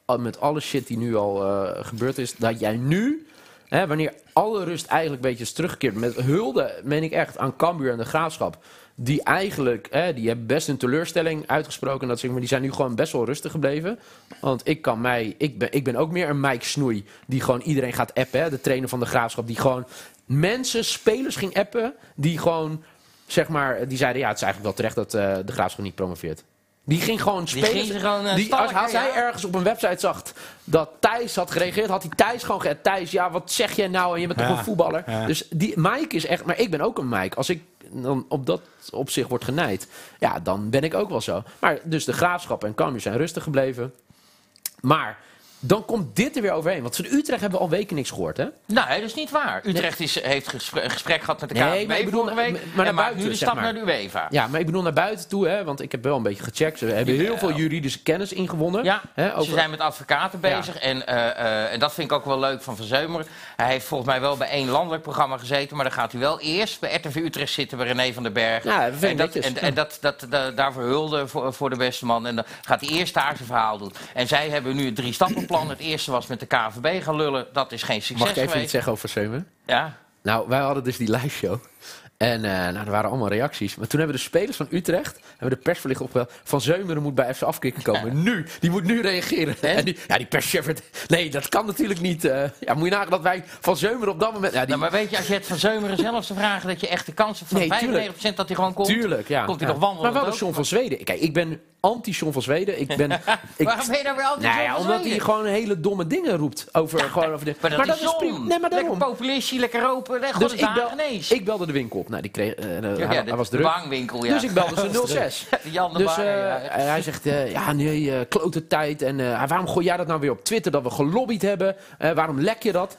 al- met alle shit die nu al eh, gebeurd is, dat jij nu, hè, wanneer alle rust eigenlijk een beetje is teruggekeerd, met hulde, meen ik echt, aan Cambuur en de Graafschap, die eigenlijk, hè, die hebben best een teleurstelling uitgesproken, dat, zeg maar, die zijn nu gewoon best wel rustig gebleven. Want ik kan mij, ik ben, ik ben ook meer een Mike Snoei, die gewoon iedereen gaat appen, hè, de trainer van de Graafschap, die gewoon mensen, spelers ging appen, die gewoon... Zeg maar, die zeiden ja, het is eigenlijk wel terecht dat eh, de Graafschap niet promoveert. Die ging gewoon Die spelen. ging gewoon, eh, als, stalken, als hij ja. ergens op een website zag dat Thijs had gereageerd, had hij Thijs gewoon geappt. Thijs, ja, wat zeg jij nou? En je bent toch Ja, een voetballer? ja. Dus die Mike is echt... Maar ik ben ook een Mike. Als ik dan op dat opzicht word genijd, ja, dan ben ik ook wel zo. Maar dus de Graafschap en Cambuur zijn rustig gebleven. Maar dan komt dit er weer overheen. Want van Utrecht hebben we al weken niks gehoord, hè? Nou, dat is niet waar. Utrecht is, heeft gespre- een gesprek gehad met de Nee, KNVB maar ik bedoel, vorige week. maar en naar maakt buiten, nu de zeg stap maar. naar de UEFA. Ja, maar ik bedoel naar buiten toe, hè? Want ik heb wel een beetje gecheckt. Ze hebben heel Jawel. veel juridische kennis ingewonnen. Ja, hè, over- ze zijn met advocaten bezig. En, eh, eh, en dat vind ik ook wel leuk van Van Zeumeren. Hij heeft volgens mij wel bij één landelijk programma gezeten. Maar dan gaat hij wel eerst bij RTV Utrecht zitten bij René van den Berg. Ja, dat vind ik en dat, netjes. en, en dat, dat, da- daarvoor hulde voor, voor de beste man. En dan gaat hij eerst daar zijn verhaal doen. En zij hebben nu het drie-stappenplan. Het eerste was met de KVB gaan lullen. Dat is geen succes Mag ik even geweest. iets zeggen over Seumen? Ja. Nou, wij hadden dus die live show. En eh, nou, er waren allemaal reacties. Maar toen hebben de spelers van Utrecht, hebben de persverlicht opgebeld. Van Zeumeren moet bij FC Afkikken [laughs] komen. Nu! Die moet nu reageren. En die, ja, die perschef. werd- Nee, dat kan natuurlijk niet. eh. ja, moet je nagaan dat wij van Zeumeren op dat moment... Ja, die, Nou, maar weet je, als je het van Zeumeren zelf zou vragen... dat je echt de kansen van Nee, tuurlijk. 95% dat hij gewoon komt... tuurlijk, ja. Komt hij Ja. nog wandelen? Maar wel de John van Zweden. Kijk, ik ben anti-John van Zweden. Ik ben... [laughs] ik, Waarom ben je daar weer altijd nou zo ja, van omdat hij Zweden? gewoon hele domme dingen roept. Over, gewoon over de, Maar dat is, John. prima. Nee, maar daarom. Lekker populistje, lekker ropen. Lekker Dus dus ik, bel, genees. ik belde de winkel op. Nou, die kreeg, eh, ja, hij, de hij was druk. Baanwinkel, ja. Dus ik [laughs] belde ze 06. Jan de Dus Baan, eh, ja. en hij zegt, eh, ja nee, eh klote tijd. En eh, waarom gooi jij dat nou weer op Twitter dat we gelobbyd hebben? Eh, waarom lek je dat?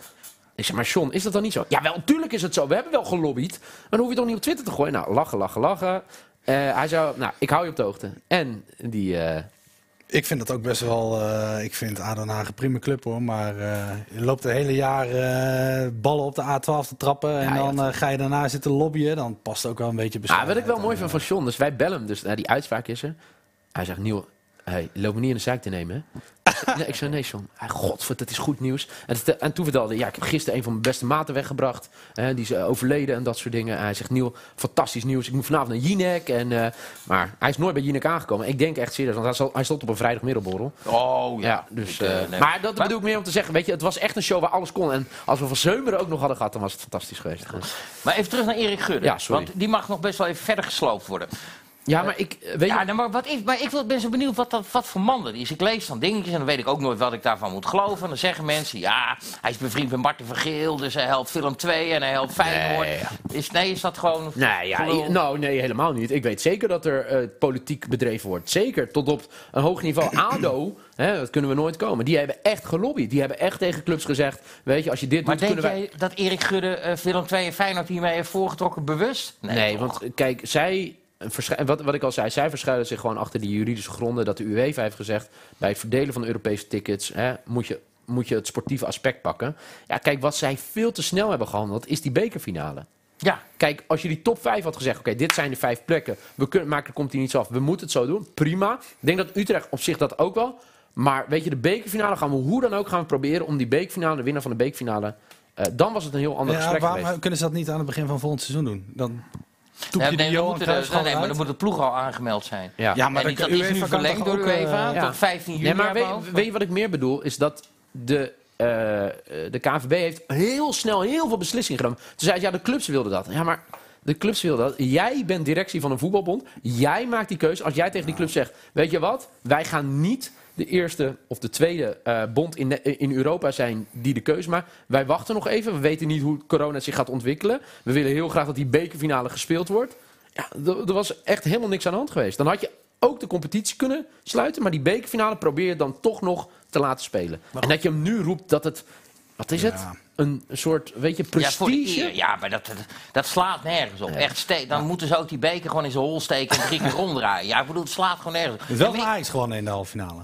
Ik zeg, maar John, is dat dan niet zo? Ja, wel, tuurlijk is het zo. We hebben wel gelobbyd. Maar dan hoef je het toch niet op Twitter te gooien? Nou, lachen, lachen, lachen. Eh, hij zou, nou, ik hou je op de hoogte. En die, eh, Ik vind dat ook best wel. eh, ik vind ADO Haag een prima club hoor. Maar eh, je loopt het hele jaar eh, ballen op de A12 te trappen. En ja, dan dat- eh, ga je daarna zitten lobbyen. Dan past ook wel een Dus beetje ah, beschouwing. wat ik wel mooi vind van John, dus wij bellen hem. Dus nou, die uitspraak is er. Hij zegt, Nieuw, hey, loop me niet in de zaak te nemen. Hè? Ik zeg, nee, ik zei, nee John. Hij, godver, dat is goed nieuws. En, het- en toen vertelde hij, ja, ik heb gisteren een van mijn beste maten weggebracht. Hè, die is eh, overleden en dat soort dingen. En hij zegt, Nieuw, fantastisch nieuws. Ik moet vanavond naar Jinek. En, eh, maar hij is nooit bij Jinek aangekomen. Ik denk echt serieus, want hij, zal- hij stond op een vrijdagmiddagborrel. Oh, ja. Ja, dus, Ik, eh, eh, nee. Maar dat bedoel ik meer om te zeggen, weet je, het was echt een show waar alles kon. En als we Van Zeumeren ook nog hadden gehad, dan was het fantastisch geweest. Maar even terug naar Erik Gudde. Ja, sorry. Want die mag nog best wel even verder gesloopt worden. Ja, maar ik, eh, weet je, Ja, nou, maar, wat ik, maar ik wil- ben zo benieuwd wat, dat, wat voor man dat is. Ik lees dan dingetjes en dan weet ik ook nooit wat ik daarvan moet geloven. En dan zeggen mensen, ja, hij is bevriend met Martin van Geel, dus hij helpt film 2 en hij helpt Feyenoord. Nee, ja. Is, nee, is dat gewoon... Nee, ja, gelul? nou, nee, helemaal niet. Ik weet zeker dat er eh, politiek bedreven wordt. Zeker tot op een [clears throat] hoog niveau. ADO, hè, dat kunnen we nooit komen. Die hebben echt gelobbyd. Die hebben echt tegen clubs gezegd... weet je, als je dit Maar doet, denk kunnen wij... jij dat Erik Gudde eh film 2 en Feyenoord hiermee heeft voorgetrokken bewust? Nee, toch? want eh, kijk, zij... verschu- Wat, wat ik al zei, zij verschuilen zich gewoon achter die juridische gronden... dat de UEFA heeft gezegd... bij het verdelen van de Europese tickets... Hè, moet, je, moet je het sportieve aspect pakken. Ja, kijk, wat zij veel te snel hebben gehandeld... is die bekerfinale. Ja, Kijk, als je die top 5 had gezegd: oké, dit zijn de vijf plekken. We kunnen, maar er komt hier niets af. We moeten het zo doen. Prima. Ik denk dat Utrecht op zich dat ook wel. Maar weet je, de bekerfinale gaan we hoe dan ook gaan we proberen om die bekerfinale, de winnaar van de bekerfinale. eh, dan was het een heel ander Ja, gesprek waarom geweest. kunnen ze dat niet aan het begin van volgend seizoen doen? Dan toep Ja, nee, je die dan Johan moeten de- Cruijff gewoon nee, maar uit. dan moet de ploeg al aangemeld zijn. Ja. Ja, Maar maar en dan die- dat kan is nu UEFA kan verlengd toch door ook, eh, UEFA ja. tot 15 juni. Nee, maar hebben we weet, over. weet je wat ik meer bedoel? Is dat de, eh, eh, de KVB heeft heel snel heel veel beslissingen genomen. Toen zei ze, ja, de clubs wilden dat. Ja, maar de clubs wilden dat. Jij bent directie van een voetbalbond. Jij maakt die keuze. Als jij tegen die club zegt, weet je wat? Wij gaan niet de eerste of de tweede eh, bond in, de- in Europa zijn die de keuze maakt. Wij wachten nog even. We weten niet hoe corona zich gaat ontwikkelen. We willen heel graag dat die bekerfinale gespeeld wordt. Ja, er er was echt helemaal niks aan de hand geweest. Dan had je ook de competitie kunnen sluiten. Maar die bekerfinale probeer je dan toch nog te laten spelen. En dat je hem nu roept dat het. Wat is het? Een soort, weet je, ja, voor de prestige. eer. ja, maar dat, dat, dat slaat nergens op. Echt ste- dan moeten ze ook die beker gewoon in zijn hol [laughs] steken en drie keer omdraaien. Ja, ik bedoel, het slaat gewoon nergens op. Het is wel van Ajax gewoon in de halve finale.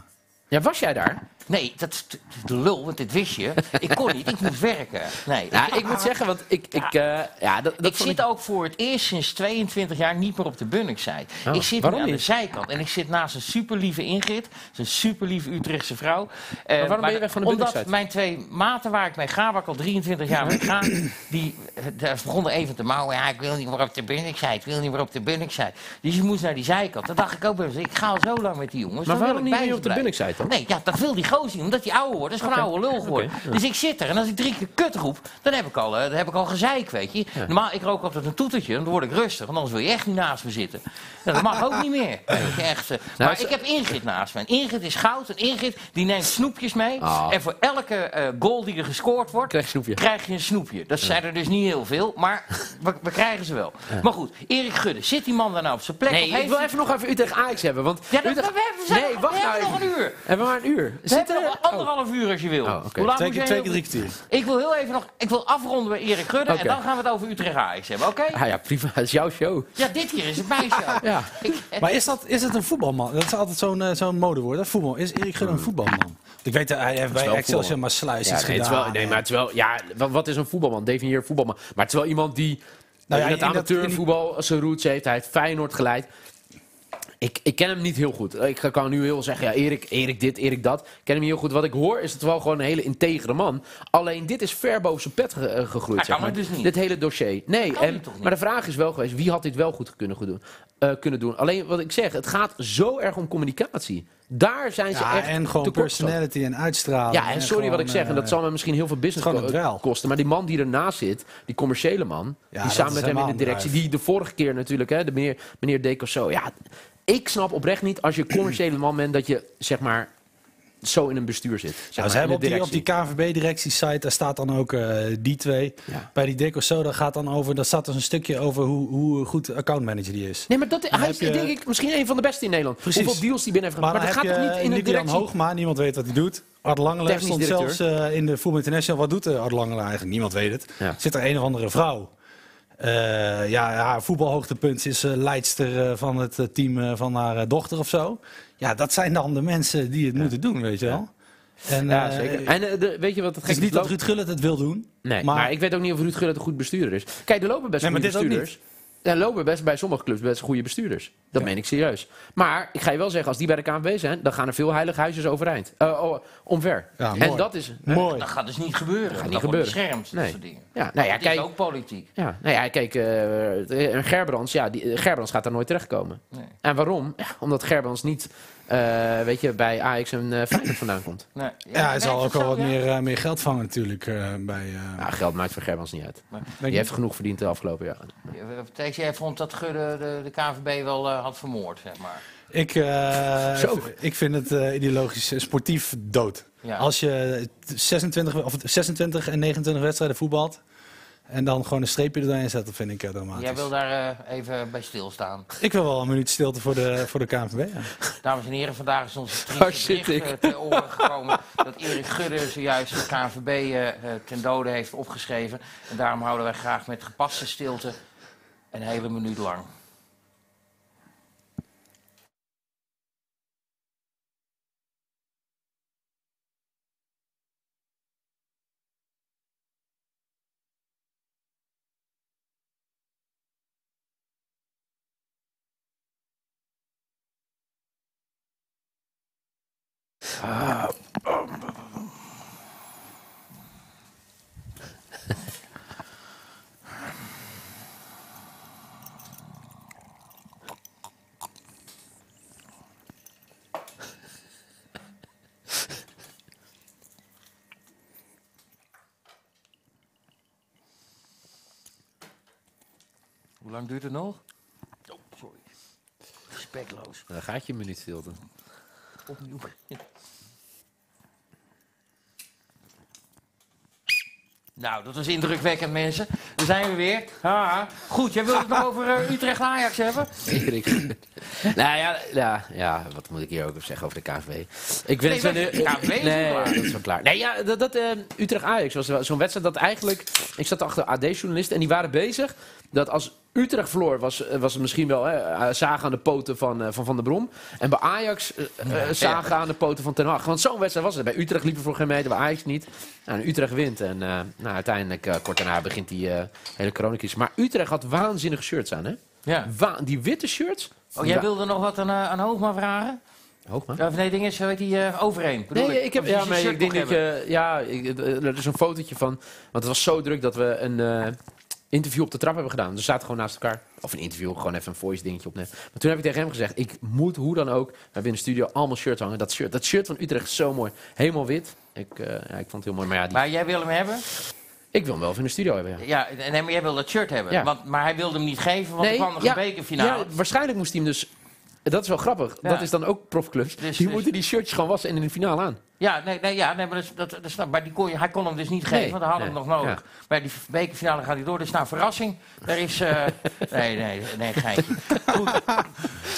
Ja, was jij daar? Nee, dat is t- de lul, want dit wist je. Ik kon niet, ik moest werken. Nee, Ja, ik moet zeggen, want ik... ik, eh, ja, dat, dat ik vond zit ook voor het eerst sinds 22 jaar niet meer op de Bunningside. Oh, ik zit nu waarom aan de niet? zijkant en ik zit naast een superlieve Ingrid. Dat is een superlieve Utrechtse vrouw. Eh, waarom ben je weg van de Omdat Bunningside? mijn twee maten waar ik mee ga, waar ik al 23 jaar mee ga, die eh, daar begonnen even te mouwen. Ja, ik wil niet meer op de Bunningside, ik wil niet meer op de Bunningside. Dus je moest naar die zijkant. Dan dacht ik ook bij mezelf, ik ga al zo lang met die jongens. dan Maar wil waarom ik niet bij meer ze op de blijven. Bunningside dan? Nee, ja, dat wil die gozer niet, omdat hij ouder wordt. Dat is gewoon oude lul geworden. Dus ik zit er en als ik drie keer kut roep, dan heb ik al, eh, dan heb ik al gezeik, weet je. Normaal, ik rook altijd een toetertje, dan word ik rustig. Want anders wil je echt niet naast me zitten. Nou, dat mag ook niet [laughs] meer. Weet je, echt, eh. maar ze- ik heb Ingrid naast me. En Ingrid is goud en Ingrid die neemt snoepjes mee. Ah. En voor elke eh, goal die er gescoord wordt, Krijg je snoepje. krijg je een snoepje. Dat zijn er dus niet heel veel, maar we, we krijgen ze wel. Maar goed, Erik Gudde, zit die man daar nou op zijn plek? Nee, Of ik heeft wil hij- even nog even Utrecht Ajax hebben, want... Ja, dat, Utrecht- we hebben, we zijn nee, nog- wacht we hebben nou nog even. een uur. Hebben we maar een uur. We Zit hebben er... nog anderhalf uur als je wil. Oh, oké. Hoe laat Twee moet keer, jij- twee keer drie kwartier. Ik wil heel even nog. Ik wil afronden bij Erik Gudde Oké. en dan gaan we het over Utrecht Ajax hebben, oké? Ah ja, prima. Dat is jouw show. Ja, dit hier is het mijn show. [laughs] Ja. Ik- eh, Maar is, dat, is het een voetbalman? Dat is altijd zo'n eh, zo'n modewoord. hè, voetbal. Is Erik Gudde een voetbalman? Ik weet dat hij heeft bij wel Excelsior voetbal. maar sluis Ja, iets nee, het is gedaan. wel, nee, maar het is wel... Ja, wa- wat is een voetbalman? Definieer een voetbalman. Maar het is wel iemand die... Nou ja, in het in dat- amateurvoetbal zijn roots heeft. Hij heeft Feyenoord geleid. Ik, ik ken hem niet heel goed. Ik kan nu heel zeggen, ja, Erik, Erik dit, Erik dat. Ik ken hem heel goed. Wat ik hoor is het wel gewoon een hele integere man. Alleen dit is ver boven zijn pet ge- eh, gegroeid. Hij zeg kan maar. het dus niet. Dit hele dossier. Nee, kan en- hij toch niet? maar de vraag is wel geweest, wie had dit wel goed kunnen doen? eh, kunnen doen? Alleen wat ik zeg, het gaat zo erg om communicatie. Daar zijn ze Ja, echt en gewoon tekortstand. personality en uitstraling. Ja, en sorry Oh, gewoon, wat ik zeg, en dat eh, zal me misschien heel veel business gewoon een ko- dweil. kosten. Maar die man die ernaast zit, die commerciële man, Ja, die dat samen is met hem in de helemaal een directie, die de vorige keer natuurlijk, hè, de meneer, meneer Decosso. Ja, ik snap oprecht niet [clears throat] als je commerciële man bent dat je zeg maar zo in een bestuur zit. Zeg Nou, maar, ze hebben op in de die, op die directie. KVB-directiesite, daar staat dan ook eh, die twee. Ja. Bij die Deco Soda gaat dan over, daar staat dus een stukje over hoe, hoe goed accountmanager die is. Nee, maar dat, hij is heb je- denk ik misschien een van de beste in Nederland. Precies. Hoeveel deals die binnen heeft Maar, gemaakt. dan Maar, dat gaat heb je toch niet in de Julian directie? Hoogma, niemand weet wat hij doet. Art Langelaar Technisch stond directeur. zelfs eh, in de Voetbal International. Wat doet eh, Art Langelaar eigenlijk? Niemand weet het. Ja. Zit er een of andere vrouw. Eh, ja, haar voetbalhoogtepunt is eh, leidster eh, van het eh, team eh, van haar eh, dochter of zo. Ja, dat zijn dan de mensen die het moeten doen, weet je wel. En, Ja, eh, zeker. En eh, de- weet je wat het Het is gek niet dat Ruud Gullit het wil doen. Nee, maar, ik weet ook niet of Ruud Gullit een goed bestuurder is. Kijk, er lopen best Nee, maar goede dit ook bestuurders. Er lopen best bij sommige clubs best goede bestuurders. Dat meen ik serieus. Maar ik ga je wel zeggen, als die bij de KNVB zijn, dan gaan er veel heilige huisjes overeind. Eh, oh, omver. Ja, en mooi. dat is. Mooi. Dat gaat dus niet gebeuren. Dat, gaat niet wordt gebeuren. beschermd, dat Nee. soort dingen. Ja, nou ja, Het is kijk. ook politiek. Ja, nou ja, kijk, eh, eh, Gerbrands, ja, die, eh, Gerbrands gaat daar nooit terechtkomen. Nee. En waarom? Ja, omdat Gerbrands niet eh, weet je, bij Ajax en eh Feyenoord vandaan komt. Nee, Ja, hij werkt zal het ook wel zo, wat ja? meer, eh, meer geld vangen natuurlijk eh, bij... eh, Nou, geld maakt voor Gerbrands niet uit. Nee. Die heeft genoeg verdiend de afgelopen jaren. Ja, eh, Thijs, jij vond dat Gudde de, de KVB wel eh, had vermoord, zeg maar. Ik, eh, Zo. ik vind het eh, ideologisch eh, sportief dood. Ja. Als je 26, of 26 en 29 wedstrijden voetbalt en dan gewoon een streepje erdoorheen zet, dat vind ik eh, dramatisch. Jij wil daar eh, even bij stilstaan. Ik wil wel een minuut stilte voor de, voor de KNVB. ja. Dames en heren, vandaag is ons Waar triest zit bericht eh, ter oren gekomen dat Erik Gudde zojuist de KNVB eh, eh, ten dode heeft opgeschreven. En daarom houden wij graag met gepaste stilte een hele minuut lang. Hoe lang duurt het nog? Oh, sorry. Respectloos. Dan gaat je een minuut stilte. Opnieuw. Nou, dat was indrukwekkend, mensen. Daar zijn we weer. Haha. Goed, jij wilde het nog over eh, Utrecht-Ajax hebben? Erik. nou ja, ja, ja, wat moet ik hier ook op zeggen over de KNVB? Ik Nee, vind maar het de KNVB is nee, klaar. dat is wel klaar. Nee, ja, dat, dat eh, Utrecht Ajax was wel zo'n wedstrijd dat eigenlijk ik zat achter AD journalisten en die waren bezig dat als Utrecht verloor was, eh, was het misschien wel hè, eh, zagen aan de poten van eh, Van, van der Brom. En bij Ajax eh, eh, zagen aan de poten van Ten Hag. Want zo'n wedstrijd was het. Bij Utrecht liepen voor geen meter, bij Ajax niet. Nou, en Utrecht wint. En eh, nou, uiteindelijk, eh, kort daarna, begint die eh, hele coronacrisis. Maar Utrecht had waanzinnige shirts aan, hè? Ja. Wa- die witte shirts. Oh, jij Wa- wilde nog wat aan, eh, aan Hoogma vragen? Hoogma? Of nee, ding is, weet die eh, overheen. Bedoel Nee, ik heb, Of die ja, zijn maar shirt ik denk nog dat hebben. je, ja, ik- eh, er is een fotootje van, want het was zo druk dat we een eh, interview op de trap hebben gedaan. Dus we zaten gewoon naast elkaar. Of een interview, gewoon even een voice dingetje opnemen. Maar toen heb ik tegen hem gezegd, ik moet hoe dan ook, we hebben in de studio allemaal shirts hangen. Dat shirt, dat shirt van Utrecht is zo mooi. Helemaal wit. Ik, eh, ja, ik vond het heel mooi, maar ja, die, Maar jij wil hem hebben? ik wil hem wel even in de studio hebben, ja. Ja, nee, maar jij wil dat shirt hebben. Ja. Want, maar hij wilde hem niet geven, want er kwam nog ja, een bekerfinale. ja, waarschijnlijk moest hij hem dus... Dat is wel grappig. nou- Ja. Dat is dan ook profclubs. Dus- die dus- moeten die shirtjes gewoon wassen en in de finale aan. Ja, nee, nee, ja, nee maar, dat, is- dat, dat, snap ik. maar die kon, je- hij kon hem dus niet geven, Nee, want hij had nee, hem nog nodig. Bij die bekerfinale gaat hij door, dus nou, verrassing. Er is... [laughs] eh, nee, nee, nee, geintje. Goed,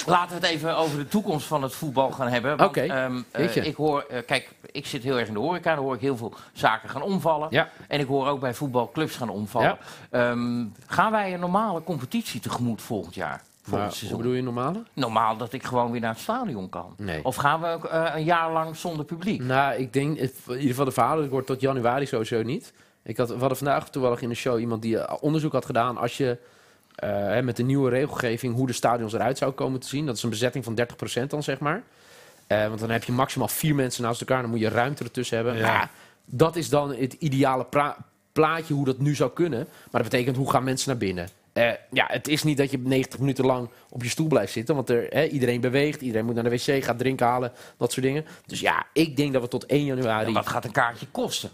laten we het even over de toekomst van het voetbal gaan hebben. want, Oké, ehm, eh, jeetje. ik hoor, eh, kijk, ik zit heel erg in de horeca, daar hoor ik heel veel zaken gaan omvallen. Ja. En ik hoor ook bij voetbalclubs gaan omvallen. Ehm, gaan wij een normale competitie tegemoet volgend jaar? Volgend Maar, hoe seizoen? bedoel je normale? Normaal dat ik gewoon weer naar het stadion kan. Nee. Of gaan we ook, eh, een jaar lang zonder publiek? Nou, ik denk, in ieder geval de verhalen, ik hoor tot januari sowieso niet. Ik had, we hadden vandaag toevallig in de show iemand die eh, onderzoek had gedaan als je eh, hè, met de nieuwe regelgeving hoe de stadions eruit zou komen te zien. Dat is een bezetting van 30% dan, zeg maar. Eh, want dan heb je maximaal vier mensen naast elkaar, dan moet je ruimte ertussen hebben. Ja. Ja, dat is dan het ideale pra- plaatje hoe dat nu zou kunnen. Maar dat betekent, hoe gaan mensen naar binnen? Eh, ja, het is niet dat je 90 minuten lang op je stoel blijft zitten. Want er, hè, iedereen beweegt, iedereen moet naar de wc, gaat drinken halen, dat soort dingen. Dus ja, ik denk dat we tot 1 januari... En wat gaat een kaartje kosten?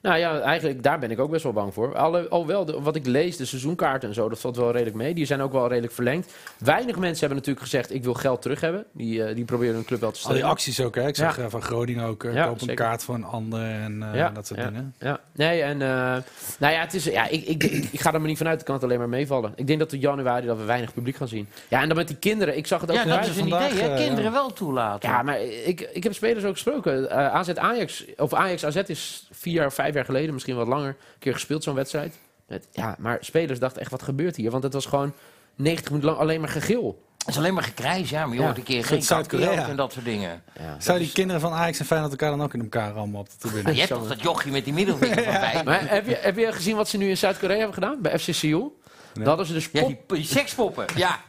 Nou ja, eigenlijk daar ben ik ook best wel bang voor. Alle- Alhoewel, de- wat ik lees, de seizoenkaarten en zo, dat valt wel redelijk mee. Die zijn ook wel redelijk verlengd. Weinig mensen hebben natuurlijk gezegd, ik wil geld terug hebben. Die, eh, die proberen hun club wel te Al Oh, stellen. die acties ook, hè? Ik zag Ja. eh, van Groningen ook, eh, Ja, koop een zeker. kaart voor een ander en eh, Ja, dat soort ja, dingen. Ja, nee, en eh, nou ja, het is, ja ik, ik, ik, ik ga er maar niet vanuit. Het kan het alleen maar meevallen. Ik denk dat in januari dat we weinig publiek gaan zien. Ja, en dan met die kinderen. Ik zag het ook Ja, vandaag. dat is een vandaag, idee, hè? eh, Kinderen wel toelaten. Ja, maar ik, ik heb spelers ook gesproken. Eh, AZ Ajax, of Ajax AZ is vier jaar, vijf jaar geleden, misschien wat langer, een keer gespeeld zo'n wedstrijd. Met, ja, maar spelers dachten echt, wat gebeurt hier? Want het was gewoon 90 minuten lang alleen maar gegil. Het is alleen maar gekrijs, ja, maar je Ja, hoort een keer geen Zuid-Korea. kampioen en dat soort dingen. Ja. dus- Zou die kinderen van Ajax en Feyenoord elkaar dan ook in elkaar allemaal op de Maar tribune? je hebt toch dat jochie met die middelvinger van bij? Maar heb je, heb je gezien wat ze nu in Zuid-Korea hebben gedaan? Bij FC Seoul? Daar hadden ze dus Ja, pop- die, die sekspoppen. Ja.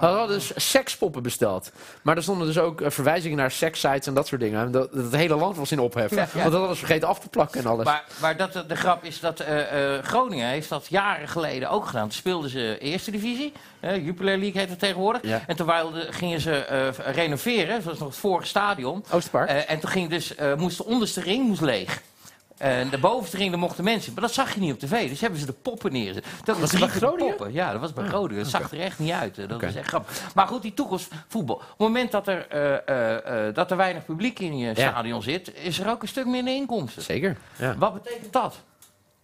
We hadden dus sekspoppen besteld. Maar er stonden dus ook eh, verwijzingen naar sekssites en dat soort dingen. En Dat, dat het hele land was in ophef. Ja, ja. Want dat hadden ze vergeten af te plakken en alles. Maar, maar dat, de grap is dat eh, eh, Groningen heeft dat jaren geleden ook gedaan. Toen speelden ze Eerste Divisie, eh, Jupiler League heet het tegenwoordig. Ja. En toen wilden- gingen ze eh, renoveren, dat was nog het vorige stadion. Oosterpark? Eh, en toen ging dus, eh, moest de onderste ring moest leeg. En de bovenste ring, daar mochten mensen. in. Maar dat zag je niet op tv. Dus hebben ze de poppen neerzet. Dat Was dat bij Groningen? Ah, Poppen. Ja, dat was bij Groningen. Dat zag er echt niet uit. hè. Dat is echt grappig. Maar goed, die toekomst voetbal. Op het moment dat er, eh, eh, eh, dat er weinig publiek in je stadion zit, is er ook een stuk minder inkomsten. Zeker. Ja. Wat betekent dat?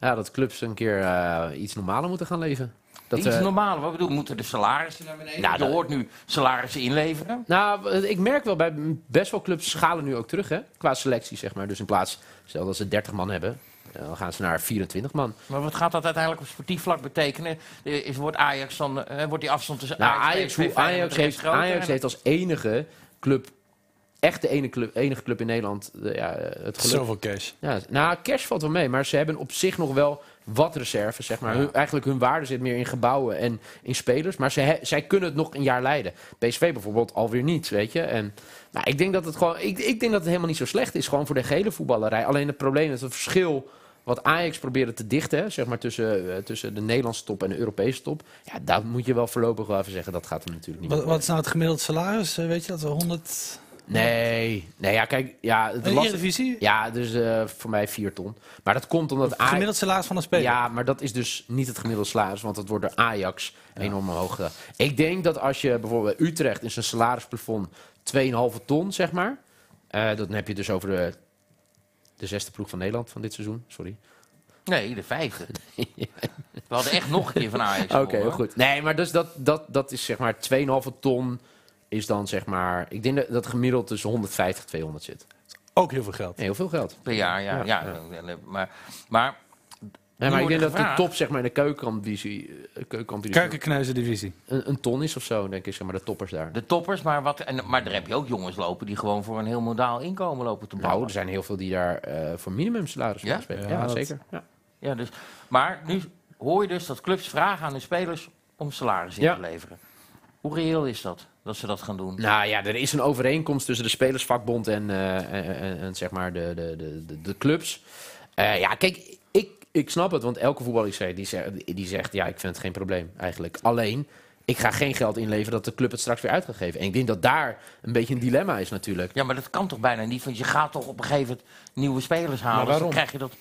ja, dat clubs een keer eh, iets normaler moeten gaan leven. Dat, Iets eh, normaal. Wat bedoel, moeten de salarissen naar beneden? Nou, je dat- hoort nu salarissen inleveren. Nou, eh, ik merk wel bij best wel clubs schalen nu ook terug, hè? Qua selectie, zeg maar. Dus in plaats, stel dat ze 30 man hebben, eh, dan gaan ze naar 24 man. Maar wat gaat dat uiteindelijk op sportief vlak betekenen? Eh, Is, wordt, Ajax dan, eh, wordt die afstand tussen Nou, Ajax, Ajax, PSV, hoe- Feyenoord Ajax, steeds heeft, groter Ajax en- heeft als enige club, echt de enige club, enige club in Nederland, eh, ja, eh, het geluk Zoveel cash. Ja, nou, cash valt wel mee, maar ze hebben op zich nog wel wat reserves, zeg maar. Hun- eigenlijk hun waarde zit meer in gebouwen en in spelers, maar ze he- zij kunnen het nog een jaar leiden. PSV bijvoorbeeld alweer niet, weet je. En nou, ik denk dat het gewoon, ik, ik denk dat het helemaal niet zo slecht is, gewoon voor de gehele voetballerij. Alleen het probleem is het verschil wat Ajax probeerde te dichten, hè, zeg maar tussen, eh, tussen de Nederlandse top en de Europese top. Ja, daar moet je wel voorlopig wel even zeggen, dat gaat er natuurlijk niet. Wat, meer wat is nou het gemiddeld salaris? eh, Weet je dat? 100. worden. Nee, nee, ja, kijk, ja, het De lastig- Eredivisie? Ja, dus eh, voor mij 4 ton. Maar dat komt omdat Ajax... Gemiddeld salaris van een speler. Ja, maar dat is dus niet het gemiddelde salaris, want dat wordt door Ajax enorm hoog gedaan. Ik denk dat als je bijvoorbeeld bij Utrecht in zijn salarisplafond 2,5 ton, zeg maar, eh, dan heb je dus over de, de zesde ploeg van Nederland van dit seizoen. Sorry. Nee, de [laughs] vijfde. We hadden echt nog een keer van Ajax. Oké, gewonnen, heel hoor. goed. Nee, maar dus dat, dat, dat is zeg maar 2,5 ton is dan zeg maar, ik denk dat, dat gemiddeld tussen 150 200 zit. Ook heel veel geld. Nee, heel veel geld. Per jaar, ja. ja, Ja, En, eh, Maar, maar Nee, maar worden ik denk dat de gevraagd. top zeg maar, in de keukenkampdivisie eh, keukenkampdivisie Keukenkneuzendivisie. een, een ton is of zo, denk ik, zeg maar, de toppers daar. De toppers, maar, wat, en, maar daar heb je ook jongens lopen die gewoon voor een heel modaal inkomen lopen te bouwen. Nou, er zijn heel veel die daar eh, voor minimum salaris Ja? ja? spelen. Ja, Ja, dat- zeker. Ja. ja, dus, maar nu hoor je dus dat clubs vragen aan hun spelers om salaris in Ja. te leveren. Hoe reëel is dat, dat ze dat gaan doen? Nou ja, er is een overeenkomst tussen de spelersvakbond en, eh, en, en- en zeg maar de, de, de, de, de clubs. Eh, ja, kijk, ik, ik snap het, want elke voetballer die zegt, die zegt, ja, ik vind het geen probleem eigenlijk. Alleen, ik ga geen geld inleveren dat de club het straks weer uit gaat geven. En ik denk dat daar een beetje een dilemma is natuurlijk. Ja, maar dat kan toch bijna niet, want je gaat toch op een gegeven moment nieuwe spelers halen. Maar Dus dan waarom? krijg je dat...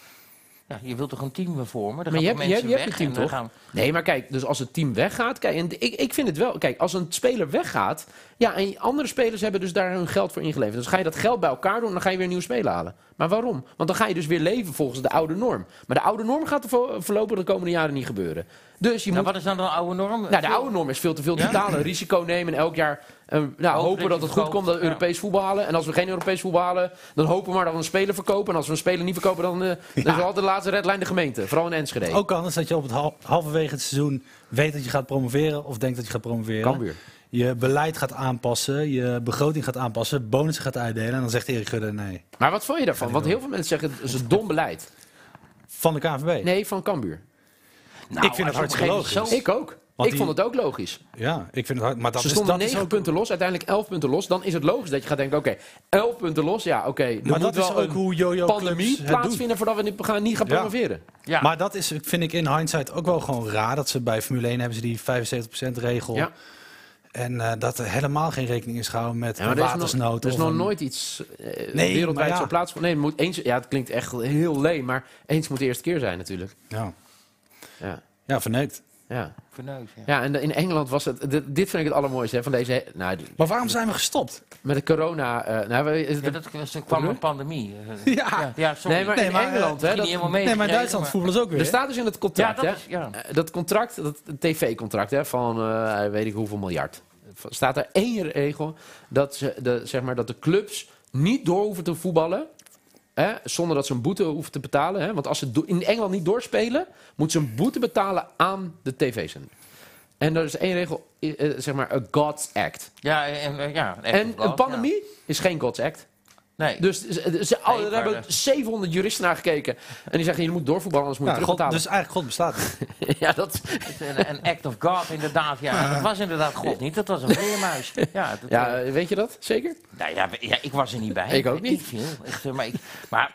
Ja, je wilt toch een team weer vormen? Dan Maar je gaan toch hebt- je mensen hebt- je hebt weg een en team, dan gaan- Nee, maar kijk, dus als het team weggaat, kijk, en ik, ik vind het wel, kijk, als een speler weggaat, ja, en andere spelers hebben dus daar hun geld voor ingeleverd. Dus ga je dat geld bij elkaar doen, dan ga je weer een nieuwe speler halen. Maar waarom? Want dan ga je dus weer leven volgens de oude norm. Maar de oude norm gaat er vo- voorlopig de komende jaren niet gebeuren. Dus je Nou, moet. wat is dan de oude norm? Nou, de oude norm is veel te veel Ja? totale risico nemen en elk jaar eh, nou, dat je hopen dat het goed verkoopt, komt dat we ja. Europees voetbal halen. En als we geen Europees voetbal halen, dan hopen we maar dat we een speler verkopen. En als we een speler niet verkopen, dan, eh, dan is altijd de laatste redlijn de gemeente. Vooral in Enschede. Ook anders dat je op het hal- halverwege het seizoen weet dat je gaat promoveren of denkt dat je gaat promoveren. Cambuur. Je beleid gaat aanpassen, je begroting gaat aanpassen, bonussen gaat uitdelen. En dan zegt Erik Gudde nee. Maar wat vond je daarvan? Want heel veel mensen zeggen, het is een dom beleid. Van de KNVB. Nee, van Cambuur. Nou, ik vind het als je op een gegeven hartstikke moment logisch. zo- Ik ook. Want ik die- vond het ook logisch. Ja, ik vind het hard. Maar dat Ze is, stonden dat is 9 ook, punten los, uiteindelijk 11 punten los. Dan is het logisch dat je gaat denken, oké, 11 punten los. Ja, oké, er maar moet dat wel is ook een hoe Jojo clubs pandemie het doen. plaatsvinden voordat we niet gaan, niet gaan Ja. promoveren. Ja. Maar dat is, vind ik in hindsight ook wel gewoon raar. Dat ze bij Formule 1 hebben ze die 75% regel. Ja. En eh, dat er helemaal geen rekening is gehouden met Ja, maar er is nog- watersnood. er is of nog een- nooit iets eh, Nee, maar wereldwijd ja. zo plaatsvinden. Nee, er moet eens, ja, het klinkt echt heel leem, maar eens moet de eerste keer zijn natuurlijk. Ja, Ja, ja verneukt. ja. Verneukt, ja. ja en in Engeland was het... Dit, dit vind ik het allermooiste hè, van deze... he- Nou, Maar waarom zijn we gestopt? met de corona... eh, nou, we- is het- Ja, dat was- er kwam een pandemie. eh. Ja. ja, ja sorry. nee, maar Nee, in maar, eh, Engeland... hè, Misschien dat, niet helemaal mee nee, maar in gekregen, Duitsland voetballen ze ook weer. Er hè? staat dus in het Ja, contract, dat hè? is... Ja. Eh, Dat contract, dat tv-contract hè, van eh, weet ik hoeveel miljard. V- Staat er één regel dat, ze de, zeg maar, dat de clubs niet door hoeven te voetballen. Hè, zonder dat ze een boete hoeven te betalen. Hè, want als ze do- in Engeland niet doorspelen, moeten ze een boete betalen aan de tv-zender. En er is één regel, eh, eh, zeg maar, een God's Act. Ja, en, eh, ja, echt En blad, een pandemie is geen God's Act. ja. Nee, Dus ze, ze- al- Nee, er maar eh, hebben dat- 700 juristen naar gekeken. En die zeggen, je moet doorvoetballen, anders moet je Ja, God, terugbetalen. dus eigenlijk God bestaat niet. [laughs] ja, dat, het is een, een act of God inderdaad. [laughs] Ja, dat was inderdaad God niet, dat was een vleermuis. Ja, dat, ja, eh, eh, weet je dat zeker? nou, ja, we- ja, ik was er niet bij. Ik ook niet. Ik viel, echt, eh, maar, ik, maar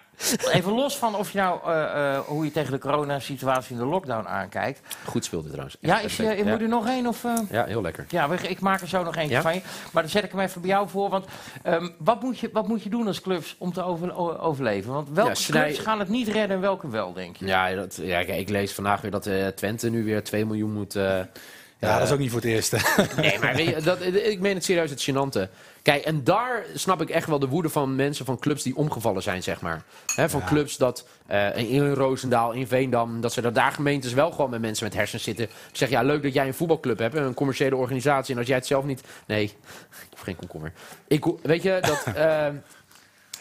even los van of je nou, eh, eh, hoe je tegen de coronasituatie in de lockdown aankijkt. Goed speelde trouwens. Ja, Echt is, perfect. eh, moet er nog één of... eh? ja, heel lekker. Ja, we- ik maak er zo nog eentje Ja? van je. Maar dan zet ik hem even bij jou voor. Want ehm, wat, moet je, wat moet je doen als clubs om te over- o- overleven? Want welke Ja, snij- clubs gaan het niet redden en welke wel, denk je? Ja, dat, ja kijk, ik lees vandaag weer dat eh, Twente nu weer 2 miljoen moet... eh, Ja, dat is ook niet voor het eerst. [laughs] hè. nee, maar weet je, dat, ik meen het serieus, het gênante. Kijk, en daar snap ik echt wel de woede van mensen van clubs die omgevallen zijn, zeg maar. Hè, van clubs dat eh, in Roosendaal, in Veendam, dat ze dat daar gemeentes wel gewoon met mensen met hersens zitten. Ik zeg, ja, leuk dat jij een voetbalclub hebt, een commerciële organisatie. En als jij het zelf niet... Nee, [laughs] ik hoef geen komkommer. Ik, ho- weet je, [laughs] dat... eh,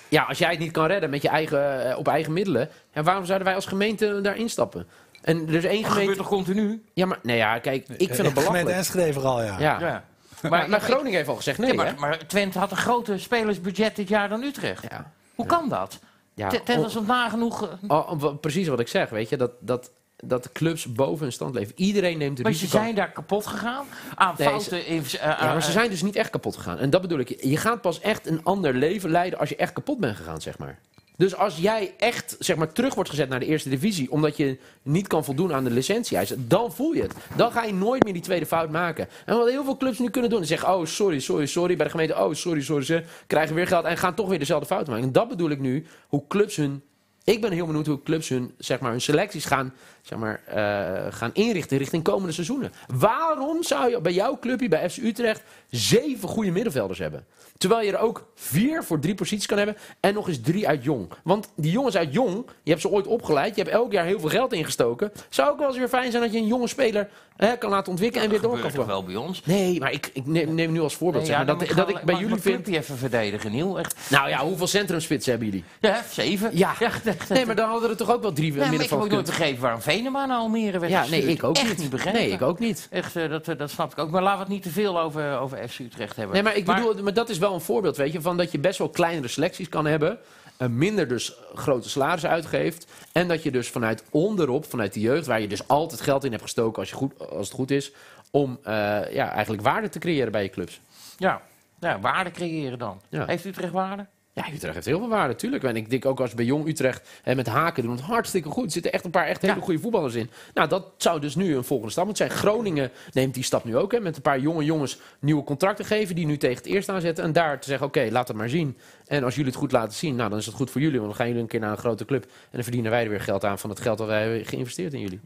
ja, als jij het niet kan redden met je eigen, eh, op eigen middelen, ja, waarom zouden wij als gemeente daar instappen? En er is één Dat gebeurt gemeente... toch Eh, continu? Ja, maar nee, ja, kijk, ik vind het Gemeente belachelijk. Enschede vooral, ja. Ja. Ja. Maar, maar Groningen heeft al gezegd nee, Ja, hè? maar, maar Twente had een groter spelersbudget dit jaar dan Utrecht. Ja. Hoe kan dat? Ja, Te- Twente was op nagenoeg... eh, oh, oh, wa- precies wat ik zeg, weet je. Dat, dat, dat de clubs boven hun stand leven. Iedereen neemt de Maar ze risico. zijn daar kapot gegaan aan Nee, ze- fouten... in- eh, aan- Ja, maar ze zijn dus niet echt kapot gegaan. En dat bedoel ik. Je gaat pas echt een ander leven leiden als je echt kapot bent gegaan, zeg maar. Dus als jij echt zeg maar, terug wordt gezet naar de eerste divisie... omdat je niet kan voldoen aan de licentieeisen, dan voel je het. Dan ga je nooit meer die tweede fout maken. En wat heel veel clubs nu kunnen doen... is zeggen, oh, sorry, sorry, sorry. Bij de gemeente, oh, sorry, sorry. Ze krijgen weer geld en gaan toch weer dezelfde fout maken. En dat bedoel ik nu, hoe clubs hun... Ik ben heel benieuwd hoe clubs hun, zeg maar, hun selecties gaan, zeg maar, eh, gaan inrichten richting komende seizoenen. Waarom zou je bij jouw clubje, bij FC Utrecht, zeven goede middenvelders hebben? Terwijl je er ook vier voor drie posities kan hebben en nog eens drie uit Jong. Want die jongens uit Jong, je hebt ze ooit opgeleid, je hebt elk jaar heel veel geld ingestoken. Zou ook wel eens weer fijn zijn dat je een jonge speler hè, kan laten ontwikkelen en weer door kan eh, gebeurt toch voetballen. wel bij ons. Nee, maar ik, ik neem, neem nu als voorbeeld. Nee, zeg ja, maar, dan dat, moet dat wel- ik bij mag jullie mijn club vind. die even verdedigen, Niel. Echt. Nou ja, hoeveel centrumspitsen hebben jullie? Ja, [laughs] zeven. Ja. echt. Nee, maar dan hadden er toch ook wel drie Ja, maar ik heb ook middenvelders nooit kunnen- begrepen waarom Venema naar Almere werd Ja, nee, gestuurd. ik ook Echt niet. begrepen. Nee, ik ook niet. Echt, eh, dat, eh, dat snap ik ook. Maar laten we het niet te veel over, over FC Utrecht hebben. Nee, maar ik bedoel, maar dat is wel een voorbeeld, weet je, van dat je best wel kleinere selecties kan hebben. En minder dus grote salarissen uitgeeft. En dat je dus vanuit onderop, vanuit de jeugd, waar je dus altijd geld in hebt gestoken als, je goed, als het goed is. Om eh, ja, eigenlijk waarde te creëren bij je clubs. Ja, ja waarde creëren dan. Ja. Heeft Utrecht waarde? Ja, Utrecht heeft heel veel waarde, natuurlijk. En ik denk ook als bij Jong Utrecht hè, met Haken doen het hartstikke goed. Er zitten echt een paar echt hele Ja. goede voetballers in. Nou, dat zou dus nu een volgende stap moeten zijn. Groningen neemt die stap nu ook. Hè, met een paar jonge jongens nieuwe contracten geven. Die nu tegen het eerst aanzetten. En daar te zeggen, oké, laat het maar zien. En als jullie het goed laten zien, nou, dan is het goed voor jullie. Want dan gaan jullie een keer naar een grote club. En dan verdienen wij er weer geld aan van het geld dat wij hebben geïnvesteerd in jullie.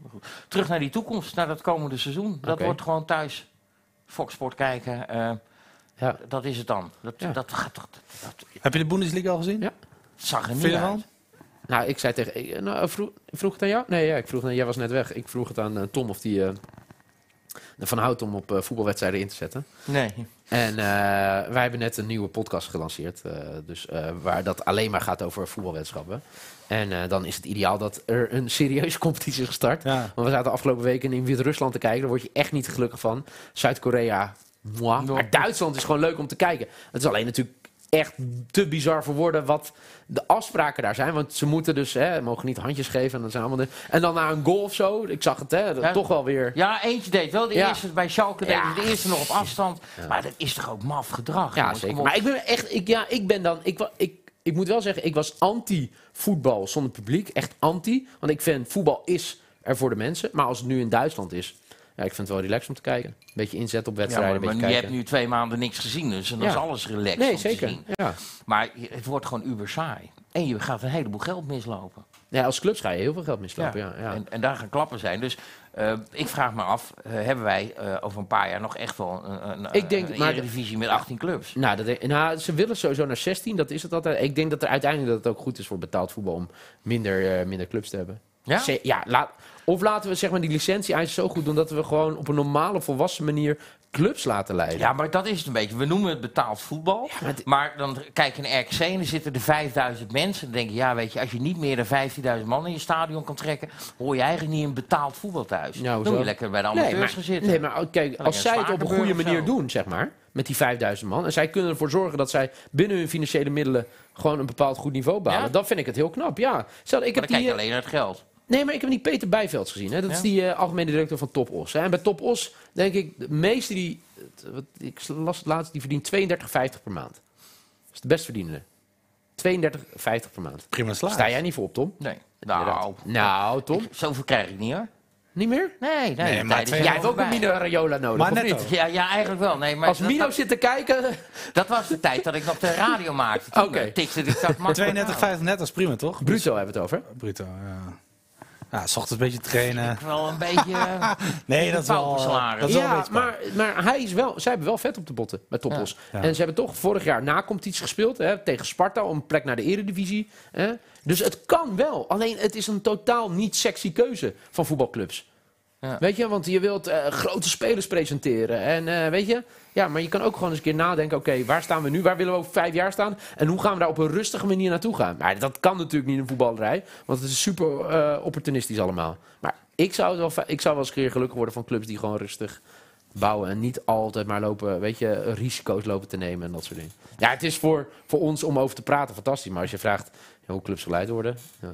Terug naar die toekomst, naar dat komende seizoen. Dat Oké. wordt gewoon thuis. Fox Sport kijken, eh, Ja. dat is het dan. Dat, Ja. dat, gaat toch- dat, dat Heb je de Bundesliga al gezien? Ja. zag er niet Vind je uit. ervan? Nou, ik zei tegen... ik, eh, nou, vroeg, vroeg het aan jou? Nee, ja, ik vroeg, jij was net weg. Ik vroeg het aan eh, Tom of die... eh ervan houdt om op eh, voetbalwedstrijden in te zetten. Nee. En eh, wij hebben net een nieuwe podcast gelanceerd. eh, dus, eh, waar dat alleen maar gaat over voetbalwetenschappen. En eh, dan is het ideaal dat er een serieuze competitie is gestart. Ja. Want we zaten afgelopen weken in Wit-Rusland te kijken. Daar word je echt niet gelukkig van. Zuid-Korea, moi. Ja. Maar Duitsland is gewoon leuk om te kijken. Het is alleen natuurlijk echt te bizar voor woorden wat de afspraken daar zijn. Want ze moeten dus, hè, mogen niet handjes geven. En dan, zijn allemaal de- en dan na een goal of zo. Ik zag het, hè, dat Ja. toch wel weer... Ja, eentje deed wel de Ja. eerste. Bij Schalke deed Ja. hij de eerste nog op afstand. Maar dat is toch ook maf gedrag? Ja, jongens? Kom zeker. op. Maar ik ben echt, ik, ja, ik ben dan, ik, wa- ik, ik moet wel zeggen, ik was anti-voetbal zonder publiek. Echt anti. Want ik vind, voetbal is er voor de mensen. Maar als het nu in Duitsland is, ja, ik vind het wel relaxed om te kijken. Een beetje inzet op Ja, maar, wedstrijden, een maar beetje je kijken. hebt nu twee maanden niks gezien, dus dan Ja. is alles relaxed nee, om te zeker. zien. Ja. Maar je- het wordt gewoon uber saai. En je gaat een heleboel geld mislopen. Nee, als clubs ga je heel veel geld mislopen. Ja. Ja, En, en daar gaan klappen zijn. Dus eh, ik vraag me af, eh, hebben wij eh, over een paar jaar nog echt wel een, een, Ik denk- een maar- eredivisie met 18 clubs? Nou, dat, nou, ze willen sowieso naar 16, dat is het altijd. Ik denk dat er uiteindelijk dat het ook goed is voor betaald voetbal om minder, eh, minder clubs te hebben. Ja? Ze- ja laat, of laten we zeg maar, die licentie-eisen zo goed doen dat we gewoon op een normale, volwassen manier clubs laten leiden. Ja, maar dat is het een beetje. We noemen het betaald voetbal. maar, dan kijk je naar RKC en er zitten er 5000 mensen. Dan denk je, ja, weet je, als je niet meer dan 15.000 man in je stadion kan trekken, hoor je eigenlijk niet in betaald voetbal thuis. Ja, hoezo? dan moet je lekker bij de amateurs Nou, maar, gaan zitten. Nee, maar oh, kijk, Alleen als zij het op een Spakenburg goede of manier zo. doen, zeg maar, met die 5000 man, en zij kunnen ervoor zorgen dat zij binnen hun financiële middelen gewoon een bepaald goed niveau behalen, Ja? dan vind ik het heel knap. Ja, Stel, ik Maar dan heb kijk die, je eh, alleen naar het geld. nee, maar ik heb die Peter Bijvelds gezien. Hè? Dat is Ja? die eh, algemene directeur van Top Os. Hè? En bij Top Os denk ik, de meeste die, het- wat, ik las het laatst, die verdient 32,50 per maand. Dat is de best verdienende. 32,50 per maand. Prima slaag. Sta jij niet voor op, Tom? Nee. Nou, Inderdaad. nou Tom, zoveel krijg ik niet hoor. niet meer? Nee, nee. Nee, de maar tijd is twee- er Jij hebt ook een voorbij. Mino Raiola nodig, Maar of netto. niet? Ja, ja, eigenlijk wel. Nee, maar Als dat- Mino dat, zit te kijken, [laughs] dat was de tijd dat ik nog de radio maakte. Toen, Oké. eh, tikte ik dat makkelijk aan. 32,50 net als prima, toch? Bruto hebben we het over. Bruto, ja. Ja, s ochtends een beetje trainen. Wel een beetje... eh, Nee, dat is wel... paupersalaris. Dat is wel een Ja, beetje maar, maar hij is wel, zij hebben wel vet op de botten bij Toppos. Ja. En ze hebben toch vorig jaar na competitie gespeeld hè, tegen Sparta om een plek naar de eredivisie. Hè. Dus het kan wel. Alleen het is een totaal niet sexy keuze van voetbalclubs. Ja. Weet je, want je wilt eh, grote spelers presenteren. En eh, weet je, ja, maar je kan ook gewoon eens een keer nadenken: oké, waar staan we nu? Waar willen we over vijf jaar staan? En hoe gaan we daar op een rustige manier naartoe gaan? Maar dat kan natuurlijk niet in een voetballerij, want het is super eh, opportunistisch allemaal. Maar ik zou, het wel, fi- ik zou wel eens een keer gelukkig worden van clubs die gewoon rustig bouwen en niet altijd maar lopen, weet je, risico's lopen te nemen en dat soort dingen. Ja, het is voor, voor ons om over te praten fantastisch, maar als je vraagt ja, hoe clubs geleid worden, ja.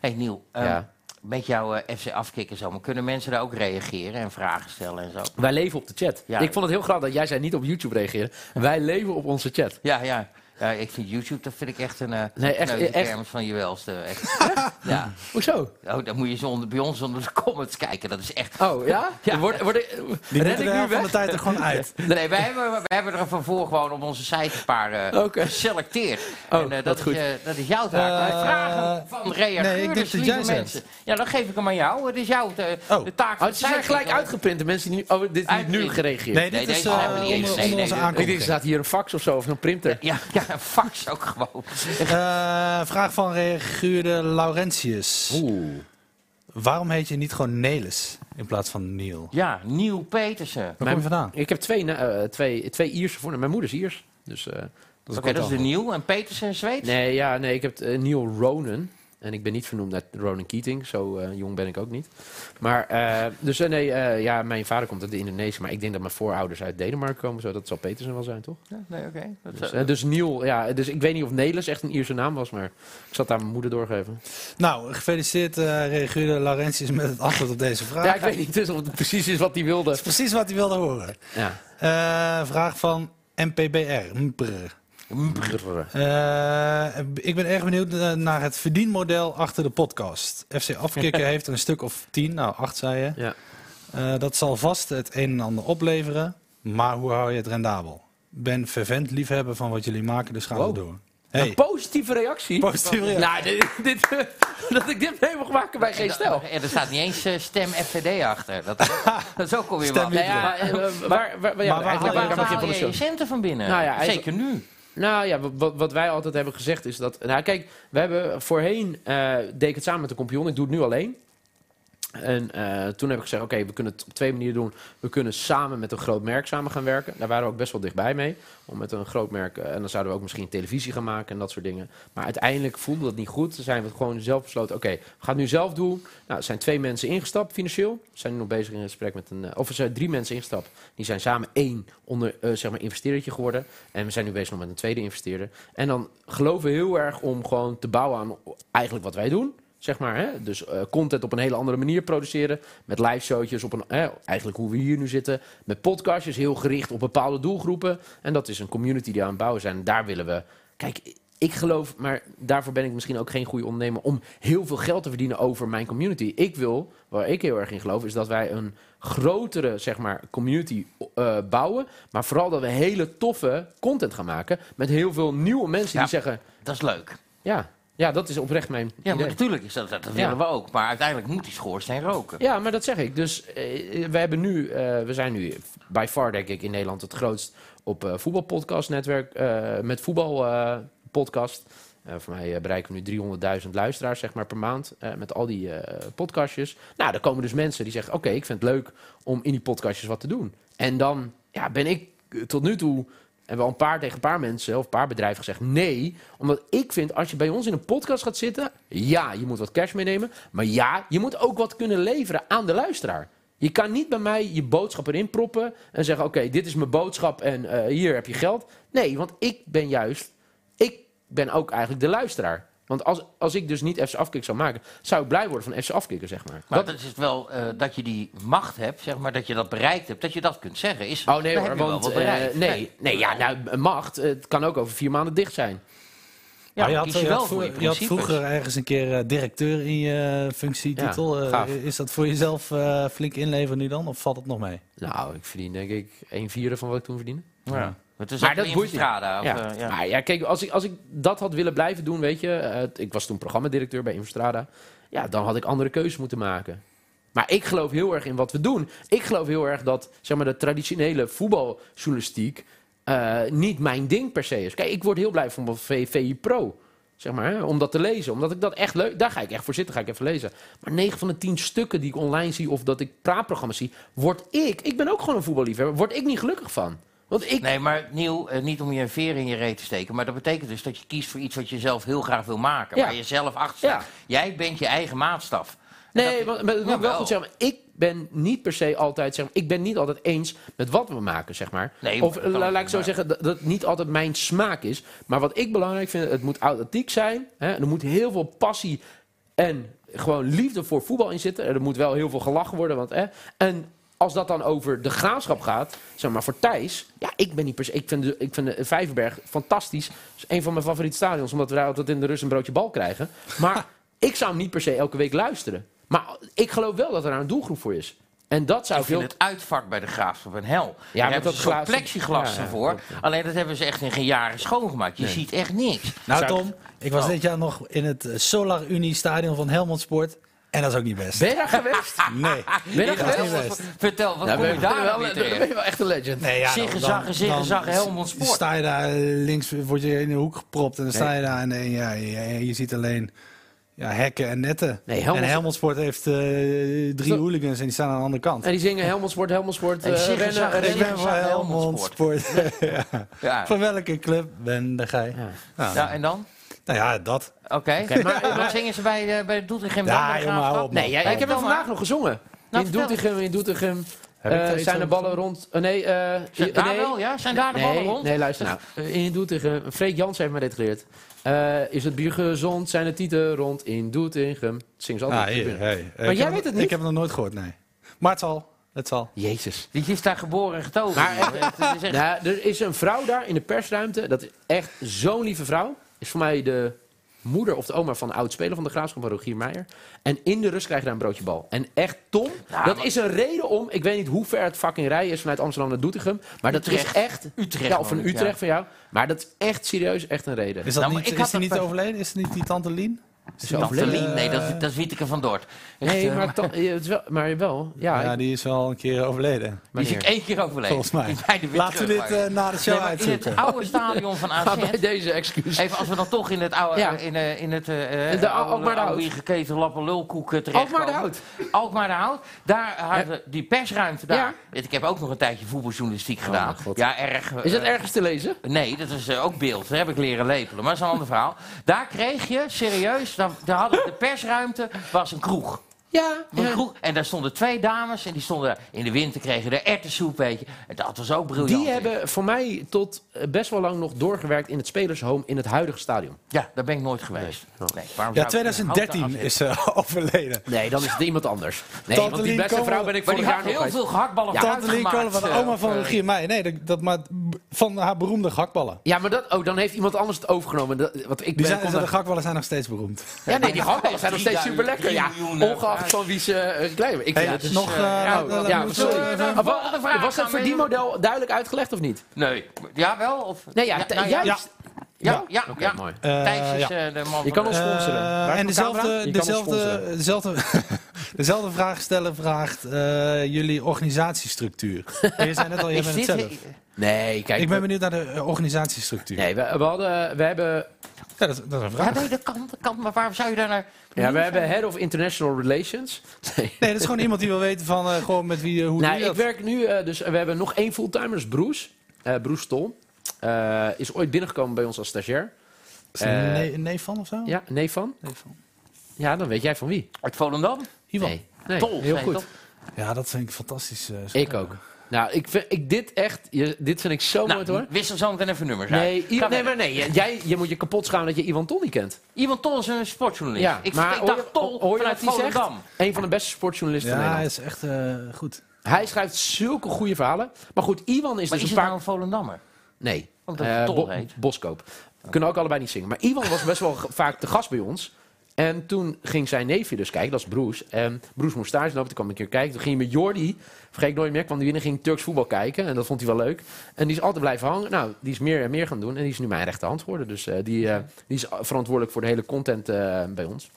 hey Niel, ehm, Ja. met jouw eh, FC afkikken zo, maar kunnen mensen daar ook reageren en vragen stellen en zo? wij leven op de chat. Ja. Ik vond het heel grappig dat jij zei niet op YouTube reageren. Wij leven op onze chat. Ja, ja. Ja, ik vind YouTube, dat vind ik echt een eh Nee, echt- kneuze echt. kermis van je welste. Echt. [laughs] ja. Hoezo? Oh, dan moet je zo onder, bij ons onder de comments kijken. Dat is echt... Oh [laughs] ja? Ja. Word, word ik, Die red moeten ik de nu helft van de weg? tijd er gewoon uit. Nee, wij hebben, wij hebben er van voor gewoon op onze site een paar eh, Oké. geselecteerd. Oh, en eh, wat dat, goed. Is, eh, dat is jouw taak. Wij Eh, vragen van reageerders, nee, ik denk dat lieve jij zei mensen. Ja, dan geef ik hem aan jou. Het is jouw eh, Oh. de taak Oh, van het de zijn site. gelijk uitgeprint. De mensen die nu... Oh, dit is niet nu Uitgeprint. gereageerd. Nee, dit Nee, is deze eh, hebben we niet eens. onder, Nee, onder onze nee, Ik denk, er aankondiging. staat hier een fax of zo, of een printer. Ja, ja, [laughs] een fax ook gewoon. Eh, vraag van reaguurde Laurentius. Oeh. Waarom heet je niet gewoon Nelis in plaats van Neil? Ja, Neil Petersen. Waar kom je vandaan? Ik heb twee, na- eh, twee, twee Ierse voor. Mijn moeder is Iers. Dus, eh, Oké, komt dat is de allemaal. Neil. En Petersen is Zweeds? Nee, ja, nee, ik heb eh, Neil Ronan. En ik ben niet vernoemd naar Ronan Keating. Zo eh, jong ben ik ook niet. Maar, eh, dus eh, nee, eh, ja, mijn vader komt uit Indonesië. Maar ik denk dat mijn voorouders uit Denemarken komen. Zo, dat zal Petersen wel zijn, toch? Ja, Nee, oké. Dat is- Dus, eh, dus Neil, ja. Dus ik weet niet of Nelis echt een Ierse naam was. Maar ik zat daar mijn moeder doorgeven. Nou, gefeliciteerd eh reageerde Laurentius met het antwoord op deze vraag. Ja, ik weet niet dus of het precies is wat hij wilde. Dat is precies wat hij wilde horen. Ja. Eh, vraag van MPBR. Mpr. Eh, ik ben erg benieuwd eh, naar het verdienmodel achter de podcast. FC Afkikken heeft er een stuk of tien, nou acht zei je. Ja. Eh, dat zal vast het een en ander opleveren, maar hoe hou je het rendabel? Ben fervent liefhebber van wat jullie maken, dus gaan Wow. we door. Hey, Een positieve reactie. Positieve reactie. Nou, dit, [laughs] dit- dat ik dit mee mag maken bij geen stel. En er staat niet eens eh, stem FVD achter. Dat, dat is ook alweer Stem wat. niet Nou ja, eh, waar- waar- waar- ja, waar haal eigenlijk je- waar Waar ik aan het begin haal van de je je show. centen van binnen? Nou ja, hij is- Zeker nu. Nou ja, wat, wat wij altijd hebben gezegd is dat... Nou kijk, we hebben voorheen... eh, deed ik het samen met een kompion. Ik doe het nu alleen. En eh, toen heb ik gezegd, oké, we kunnen het op twee manieren doen. We kunnen samen met een groot merk samen gaan werken. Daar waren we ook best wel dichtbij mee. Om met een groot merk... eh, en dan zouden we ook misschien televisie gaan maken en dat soort dingen. Maar uiteindelijk voelde dat niet goed. Toen zijn we gewoon zelf besloten, oké, we gaan het nu zelf doen. Nou, er zijn twee mensen ingestapt financieel. We zijn nu nog bezig in gesprek met een... eh, Of er zijn drie mensen ingestapt. Die zijn samen één onder, eh, zeg maar investeerdertje geworden. En we zijn nu bezig nog met een tweede investeerder. En dan geloven we heel erg om gewoon te bouwen aan eigenlijk wat wij doen. Zeg maar, hè? dus eh, content op een hele andere manier produceren. Met live showtjes, op een, hè, eigenlijk hoe we hier nu zitten. Met podcastjes, heel gericht op bepaalde doelgroepen. En dat is een community die we aan het bouwen zijn. En daar willen we... Kijk, ik geloof, maar daarvoor ben ik misschien ook geen goede ondernemer... om heel veel geld te verdienen over mijn community. Ik wil, waar ik heel erg in geloof, is dat wij een grotere zeg maar, community eh, bouwen. Maar vooral dat we hele toffe content gaan maken. Met heel veel nieuwe mensen die Ja. zeggen... Dat is leuk. Ja, ja, dat is oprecht mijn Ja, maar idee. natuurlijk is dat, dat dat Ja. willen we ook. Maar uiteindelijk moet die schoorsteen roken. Ja, maar dat zeg ik. Dus eh, we, hebben nu, eh, we zijn nu by far, denk ik, in Nederland het grootst op eh voetbalpodcastnetwerk. eh, met voetbalpodcast. voor mij eh, bereiken we nu 300.000 luisteraars zeg maar, per maand. eh, met al die eh, podcastjes. Nou, daar komen dus mensen die zeggen: Oké, ik vind het leuk om in die podcastjes wat te doen. En dan ja, ben ik eh, tot nu toe. Hebben we al een paar tegen een paar mensen of een paar bedrijven gezegd nee. Omdat ik vind, als je bij ons in een podcast gaat zitten... ja, je moet wat cash meenemen. Maar ja, je moet ook wat kunnen leveren aan de luisteraar. Je kan niet bij mij je boodschap erin proppen en zeggen... oké, dit is mijn boodschap en eh, hier heb je geld. Nee, want ik ben juist... ik ben ook eigenlijk de luisteraar. Want als, als ik dus niet FC Afkikken zou maken... zou ik blij worden van FC Afkikken, zeg maar. Maar Dat- dat is het wel eh, dat je die macht hebt, zeg maar, dat je dat bereikt hebt, dat je dat kunt zeggen. Is, Oh nee dan heb hoor, je wel want wat bereikt. eh, nee, nee, ja, nou, macht, het kan ook over vier maanden dicht zijn. Ja, maar dan je, had, eh, kies je je wel had voor je vroeger- je had principes. vroeger ergens een keer eh, directeur in je functietitel. Ja, Eh, gaaf. is dat voor jezelf eh, flink inleveren nu dan, of valt het nog mee? Nou, ik verdien denk ik een vierde van wat ik toen verdiende. Ja. Het is Maar ook dat weer boeit niet. Infostrada, of, ja. eh, ja. Maar ja, kijk, als ik, als ik dat had willen blijven doen, weet je... eh, t- ik was toen programmadirecteur bij Infostrada. Ja, dan had ik andere keuzes moeten maken. Maar ik geloof heel erg in wat we doen. Ik geloof heel erg dat, zeg maar, de traditionele voetbaljournalistiek... eh, niet mijn ding per se is. Kijk, ik word heel blij van mijn V- VI Pro. Zeg maar, hè, om dat te lezen. Omdat ik dat echt leuk... Daar ga ik echt voor zitten, ga ik even lezen. Maar 9 van de 10 stukken die ik online zie... of dat ik praatprogramma's zie... word ik... Ik ben ook gewoon een voetballiefhebber. Word ik niet gelukkig van. Want ik Nee, maar Niel, eh, niet om je een veer in je reet te steken, maar dat betekent dus dat je kiest voor iets wat je zelf heel graag wil maken, Ja. waar je zelf achter staat. Ja. Jij bent je eigen maatstaf. En dat- Nou, Nee, want, maar dat moet ik wel Jawel. goed zeggen. maar Ik ben niet per se altijd, zeg maar, ik ben niet altijd eens met wat we maken, zeg maar. Nee, of dat eh, kan la- ook, laat ik zo maar- zeggen, dat, dat het niet altijd mijn smaak is. Maar wat ik belangrijk vind, het moet authentiek zijn. Hè? Er moet heel veel passie en gewoon liefde voor voetbal in zitten. Er moet wel heel veel gelachen worden, want hè? En als dat dan over de graafschap gaat, zeg maar voor Thijs. Ja, ik ben niet per se. Ik vind, de- ik vind de Vijverberg fantastisch. Dat is een van mijn favoriete stadions, omdat we daar altijd in de rust een broodje bal krijgen. [laughs] Maar ik zou hem niet per se elke week luisteren. Maar ik geloof wel dat er daar een doelgroep voor is. En dat zou Ik ik heel. vind het uitvak bij de Graafschap een hel. Ja, Daar maar hebben dat ze zo'n glazen- plexiglas Ja, ja, ervoor. Alleen dat hebben ze echt in geen jaren schoongemaakt. Je ziet echt niks. Nou Zou ik- Tom, ik was Oh. dit jaar nog in het eh, Solar Unie Stadion van Helmond Sport. En dat is ook niet best. Ben je daar [laughs] geweest? Nee. Ben je daar Dat is geweest? niet best. Vertel, wat Nou, kom ben je je daar wel- nou weer ben terecht? je wel echt een legend. Nee, ja, dan- Ziggezag, dan- ziggezag, dan Helmond s- Sport. Sta je daar eh, links, word je in de hoek gepropt en dan sta je daar en eh, ja, je, je- je ziet alleen Ja, hekken en netten. Nee, Helmond- En Helmondsport heeft eh, drie Zo- hooligans en die staan aan de andere kant. En die zingen Helmelsport, Helmelsport, En eh, ziggen rennen, zagen- Ik rennen. ben Helmond van staat Helmondsport. [laughs] Ja. Van welke club ben de gij? Ja. Nou, Ja, en dan? nou ja, dat. Oké. maar wat zingen ze bij, eh bij de Doetinchem? Ja, Bij de jongen, Graafschap? hou op, man. Nee, ja, ik heb hem dan vandaag maar. nog gezongen. Nou, in vertel. Doetinchem, in Doetinchem Heb ik eh, daar iets zijn de over ballen rond. eh, nee, eh, Zijn eh, daar nee. wel, ja? Zijn daar de nee, ballen rond? Nee, luister nou. Eh, In Doetinchem, Freek Jans heeft me dit geleerd. Eh, is het bier gezond, zijn de tieten rond in Doetinchem. Dat zingen ze altijd. Ah, op de hier, tribune. hey. Eh, ik jij heb- weet het niet? Ik heb het nog nooit gehoord, nee. Maar het zal. Het zal. Jezus. Die is daar geboren en getogen. Maar- joh. Het is [laughs] echt- Nou, er is een vrouw daar in de persruimte. Dat is echt zo'n lieve vrouw. Is voor mij de moeder of de oma van een oud-speler van de Graafschap, van Rogier Meijer. En in de rust krijg je daar een broodje bal. En echt, Tom, Ja, dat Nou, maar- is een reden om... Ik weet niet hoe ver het fucking rijden is vanuit Amsterdam naar Doetinchem. Maar dat is Utrecht. echt... Utrecht, Ja, of van man, ja. Utrecht van jou. Maar dat is echt serieus echt een reden. Is, dat Nou, maar niet, ik had is die dat niet pas- overleden? Is het niet die tante Lien? Is Tante overleden? Lien, nee, dat, dat is Wieteke van Dort. Echt, Nee, eh, maar, toch- eh, het is wel, maar wel. Ja, Ja, ik- die is wel een keer overleden. die is ik één keer overleden. Volgens mij. Die zijn er weer Laten we terug, dit maar- eh, na de show Nee, maar in het uitzoeken. oude stadion van ga AZ... bij deze excuus. Even als we dan toch in het oude, Ja. in, eh, in het eh En de Al- Alkmaar de Hout. geketen lappen lulkoek eh, terecht. Alkmaar de komen. Hout. Alkmaar de Hout. Daar hadden die persruimte daar. Ja. Oh Ik heb ook nog een tijdje voetbaljournalistiek gedaan. mijn God. Ja, erg. eh, Is dat ergens te lezen? Nee, dat is eh, ook beeld. Dat heb ik leren lepelen. Maar dat is een ander verhaal. Daar kreeg je, serieus, daar, daar hadden, de persruimte was een kroeg. Ja. Een ja. kroeg. En daar stonden twee dames en die stonden in de winter kregen er erwtensoep, weet je. En dat was ook briljant. Die hebben voor mij tot eh, best wel lang nog doorgewerkt in het spelershome in het huidige stadion. Ja, daar ben ik nooit geweest. Nee. waarom Ja, zou ik- Houten 2013 afzetten? is eh, [laughs] overleden. Nee, dan is het iemand anders. Nee, Tante want die Lien beste Kolen- vrouw ben ik Maar vorig die jaar had nog heel geweest. veel gehaktballen eh, Ja, Tante Lien Kolen van de oma van Rogier Meijer. Nee, dat, dat, maar van haar beroemde gakballen. Ja, maar dat, oh, dan heeft iemand anders het overgenomen. Dat, want ik Die ben, zijn, kom de daar- gakballen zijn nog steeds beroemd. ja, nee, die handen zijn nog steeds super lekker. Ja, 3 miljoen, eh, ongeacht van wie ze eh, klein Ik Hey, vind het- nog... eh, ja, nou, oh, dan- ja, dan- sorry. eh, Zullen sorry. we naar de volgende vraag was dat gaan, voor weet die je? model duidelijk uitgelegd of niet? Nee. Ja, wel? Of... Nee, ja, nou jij- Ja. Ja, ja, ja. Oké, mooi. Eh, Thijs is ja. eh, de man van Je kan de- ons Eh, sponsoren. Waar is en mijn camera? Je dezelfde, kan ons sponsoren. dezelfde, dezelfde, dezelfde [laughs] vraag stellen vraagt eh, jullie organisatiestructuur. En je zei net al, je Is bent het dit- zelf. Nee, kijk. Ik ben we- benieuwd naar de eh, organisatiestructuur. Nee, we, we hadden, we hebben Ja, dat, dat is een vraag. Ja, nee, dat kan, dat kan. Maar waarom zou je daar naar... Ja, we hebben Head of International Relations. Nee. Nee, dat is gewoon iemand die wil weten van eh, gewoon met wie, eh, hoe doe Nou, je ik dat? werk nu, eh, dus we hebben nog één fulltimer, dat is Bruce. Eh Bruce Tol. Eh, is ooit binnengekomen bij ons als stagiair. Is er een eh, nee- een neef van of zo? Oh. Ja, nee van? Neef van. Ja, dan weet jij van wie. Uit Volendam? Iwan. Nee, nee. Tol, heel nee, goed. toch? Ja, dat vind ik fantastisch. eh, zo. Ik ook. Nou, ik vind ik dit echt, je, dit vind ik zo Nou, mooi hoor. wissel zo meteen even nummers uit. Nee, I- Ga nee, verder. maar nee, jij, je moet je kapot schamen dat je Ivan Tol niet kent. Iemand Tol is een sportjournalist. Ja, ik, maar ik hoor je- dacht Tol hoor je vanuit wat hij zegt? Volendam. Een van de beste sportjournalisten van Ja, Nederland. is echt eh, goed. Hij schrijft zulke goede verhalen. Maar goed, Ivan is Maar dus is een het paar nou een Volendammer? Nee. Want dat Eh, het Tol Bo- heet. Boskoop. We kunnen ook allebei niet zingen. Maar Iwan was best wel [laughs] ge- vaak te gast bij ons. En toen ging zijn neefje dus kijken, dat is Bruce. En Bruce moest stage lopen, toen kwam ik een keer kijken. Toen ging hij met Jordi, vergeet ik nooit meer, kwam die binnen, ging Turks voetbal kijken. En dat vond hij wel leuk. En die is altijd blijven hangen. Nou, die is meer en meer gaan doen. En die is nu mijn rechterhand geworden. Dus eh, die, eh, die is verantwoordelijk voor de hele content eh, bij ons.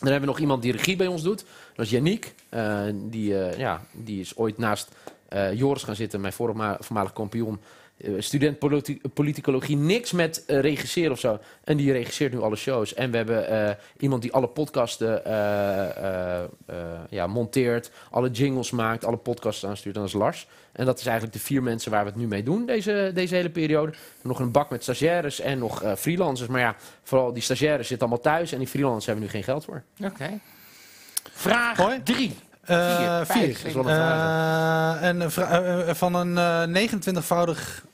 Dan hebben we nog iemand die regie bij ons doet. Dat is Yannick. Eh, die, eh, ja, die is ooit naast eh, Joris gaan zitten, mijn voorma- voormalig kampioen. eh, student politi- politicologie, niks met eh, regisseren of zo. En die regisseert nu alle shows. En we hebben eh, iemand die alle podcasten eh, eh, eh, ja, monteert, alle jingles maakt, alle podcasts aanstuurt. En dat is Lars. En dat is eigenlijk de vier mensen waar we het nu mee doen deze, deze hele periode. Nog een bak met stagiaires en nog eh, freelancers. Maar ja, vooral die stagiaires zitten allemaal thuis en die freelancers hebben nu geen geld voor. Oké. Vraag Mooi. 3. Eh, Vier, vijf, vier. zes. wel een Eh, en vra- eh, van een eh, 29voudig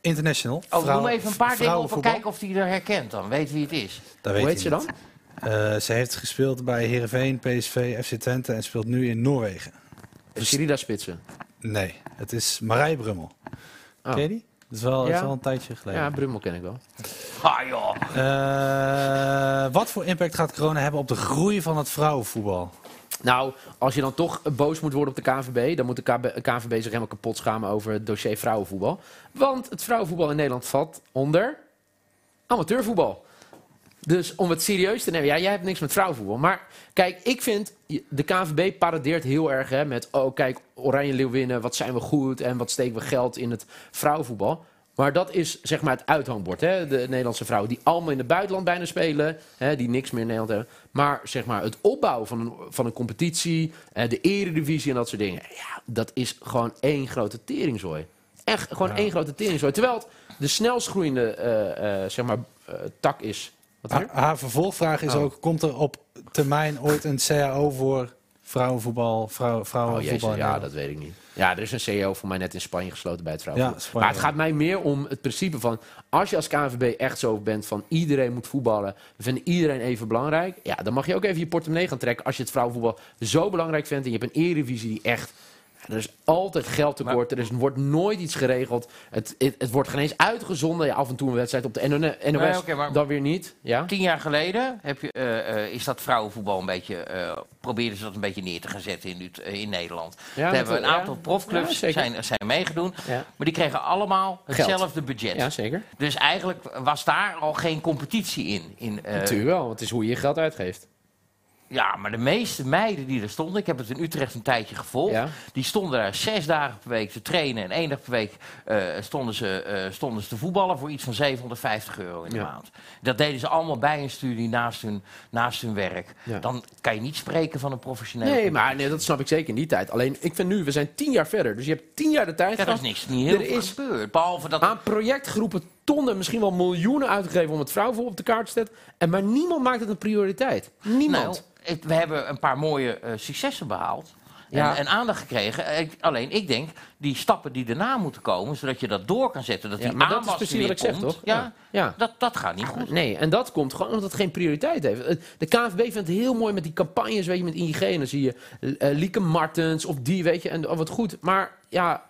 international. Oh, vrouw- noem even een paar dingen op en vrouwenvoetbal. kijken of hij er herkent dan. Weet wie het is. Dat Hoe weet heet je ze niet. dan? Eh, ze heeft gespeeld bij Heerenveen, PSV, FC Twente en speelt nu in Noorwegen. Sirida Spitsen. Nee, het is Marij Brummel. Oh. Ken je die? Dat is wel, dat is Ja. wel een tijdje geleden. Ja, Brummel ken ik wel. Ah joh. Eh, wat voor impact gaat corona hebben op de groei van het vrouwenvoetbal? Nou, als je dan toch boos moet worden op de KNVB... dan moet de KB KNVB zich helemaal kapot schamen over het dossier vrouwenvoetbal. Want het vrouwenvoetbal in Nederland valt onder amateurvoetbal. Dus om het serieus te nemen... Ja, jij hebt niks met vrouwenvoetbal. Maar kijk, ik vind... je- De KNVB paradeert heel erg hè, met... Oh, kijk, Oranje Leeuwinnen, wat zijn we goed... en wat steken we geld in het vrouwenvoetbal. Maar dat is zeg maar het uithangbord. Hè? De Nederlandse vrouwen die allemaal in het buitenland bijna spelen. Hè? Die niks meer in Nederland hebben. Maar zeg maar het opbouwen van een, van een competitie. eh, de eredivisie en dat soort dingen. Ja, dat is gewoon één grote teringzooi. Echt gewoon één grote teringzooi. Terwijl het de snelst groeiende eh, eh, zeg maar, eh, tak is. Wat Haar, haar vervolgvraag is Oh. ook, komt er op termijn ooit een CAO voor vrouwenvoetbal, vrouw, Oh jezus, vrouwenvoetbal? in ja, Nederland? dat weet ik niet. Ja, er is een CEO voor mij net in Spanje gesloten bij het Ja, vrouwenvoetbal. Spanje. maar het gaat mij meer om het principe van... als je als KNVB echt zo bent van iedereen moet voetballen... we vinden iedereen even belangrijk... ja, dan mag je ook even je portemonnee gaan trekken... als je het vrouwenvoetbal zo belangrijk vindt... en je hebt een erevisie die echt... Er is altijd geld tekort, er is, wordt nooit iets geregeld. Het, het, het wordt geen eens uitgezonden. Ja, af en toe een wedstrijd op de NOS, Nee, oké, maar- dan weer niet. Ja? Tien jaar geleden heb je, eh, eh, is dat vrouwenvoetbal een beetje. eh probeerden ze dat een beetje neer te gaan zetten in, Ut- eh, in Nederland. Daar met hebben we de- een aantal ja. Ja, profclubs zeker. zijn, zijn meegedoen. Ja. Maar die kregen allemaal Geld. hetzelfde budget. ja, zeker. Dus eigenlijk was daar al geen competitie in. in eh, Natuurlijk wel, want het is hoe je je geld uitgeeft. ja, maar de meeste meiden die er stonden, ik heb het in Utrecht een tijdje gevolgd, Ja. die stonden daar zes dagen per week te trainen en één dag per week eh, stonden, ze, eh, stonden ze te voetballen voor iets van 750 euro in de Ja. maand. Dat deden ze allemaal bij een studie naast hun, naast hun werk. Ja. Dan kan je niet spreken van een professionele. Nee, maar nee, dat snap ik zeker in die tijd. Alleen, ik vind nu, we zijn tien jaar verder. Dus je hebt tien jaar de tijd dat is gehad niks, niet heel Er veel is- gebeurd. Behalve dat aan projectgroepen tonnen, misschien wel miljoenen uitgegeven om het vrouwenvoetbal op de kaart te zetten. En maar niemand maakt het een prioriteit. Nou, Niemand. het- we hebben een paar mooie eh, successen behaald. Ja. En, en aandacht gekregen. Eh, ik- alleen ik denk, die stappen die daarna moeten komen, zodat je dat door kan zetten. Dat Ja, die maar dat is aanwas precies er weer wat ik zeg, komt. toch? Ja, Ja. Ja. Dat, dat gaat niet goed. Nee, en dat komt gewoon omdat het geen prioriteit heeft. Eh, De KNVB vindt het heel mooi met die campagnes, weet je, met ING. En dan zie je eh, Lieke Martens of die, weet je, en oh, wat goed. Maar ja,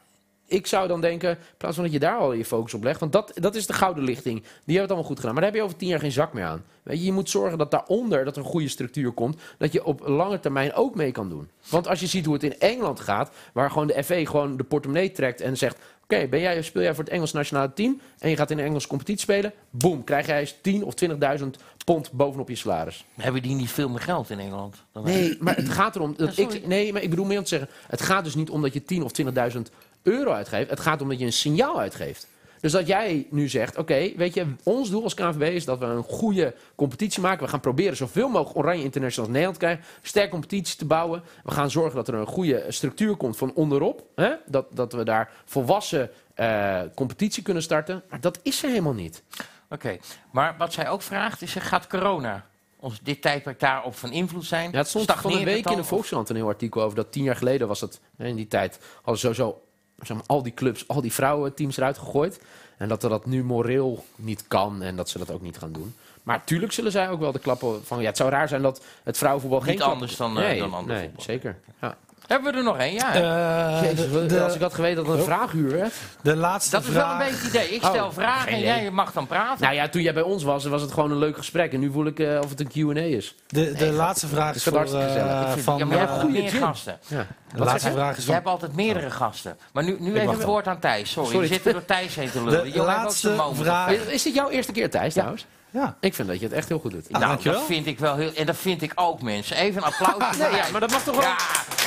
ik zou dan denken, in plaats van dat je daar al je focus op legt, want dat, dat is de gouden lichting. Die hebben het allemaal goed gedaan. Maar daar heb je over tien jaar geen zak meer aan. Weet je, je moet zorgen dat daaronder dat er een goede structuur komt, dat je op lange termijn ook mee kan doen. Want als je ziet hoe het in Engeland gaat, waar gewoon de FE gewoon de portemonnee trekt en zegt, oké, ben jij, speel jij voor het Engels nationale team en je gaat in een Engelse competitie spelen, boem, krijg jij eens 10 of 20.000 pond bovenop je salaris. Hebben die niet veel meer geld in Engeland? Dan wij? Nee, maar het gaat erom. Dat Ja, sorry. ik, nee, maar ik bedoel meer om te zeggen. Het gaat dus niet om dat je 10 of 20.000 euro uitgeeft. Het gaat om dat je een signaal uitgeeft. Dus dat jij nu zegt: Oké, weet je, ons doel als KNVB is dat we een goede competitie maken. We gaan proberen zoveel mogelijk Oranje Internationals Nederland te krijgen. Sterke competitie te bouwen. We gaan zorgen dat er een goede structuur komt van onderop. Hè? Dat, dat we daar volwassen eh, competitie kunnen starten. Maar dat is er helemaal niet. Oké, maar wat zij ook vraagt is, eh, gaat corona ons dit tijdperk daarop van invloed zijn? Ja, het stond van een Stagneert het week in de dan? Volkskrant een heel artikel over dat tien jaar geleden was dat. hè, In die tijd hadden sowieso zeg maar, al die clubs, al die vrouwenteams eruit gegooid. En dat dat nu moreel niet kan en dat ze dat ook niet gaan doen. Maar tuurlijk zullen zij ook wel de klappen van... Ja, het zou raar zijn dat het vrouwenvoetbal Niet geen klap- anders dan, eh, nee, dan ander nee, voetbal. zeker. Ja. Of- Hebben we er nog één? Ja. Eh, Jezus, de, Oh. als ik de, had geweten dat het een vraaguur werd. de laatste dat is wel vraag. een beetje het idee. Ik stel Oh, vragen geen en idee. jij mag dan praten. Nou ja, toen jij bij ons was, was het gewoon een leuk gesprek. En nu voel ik eh, of het een Q&A is. De, de laatste vraag is vind voor het hartstikke eh, gezellig. Ik van. ja, maar jij hebt eh, goed meer gin. gasten. Ja. de laatste vraag is Je van. hebt altijd meerdere Oh. gasten. Maar nu, nu even wacht het wel. woord aan Thijs. Sorry, Sorry. we zitten door Thijs heen te lullen. De Johan heeft ook zijn laatste moment. vraag. Is, is dit jouw eerste keer, Thijs, trouwens? Ja. Ah. Ik vind dat je het echt heel goed doet. Nou, dankjewel. dat vind ik wel heel... En dat vind ik ook, mensen. Even een applaus. [laughs] Nee, ja, maar dat mag toch wel, Ja.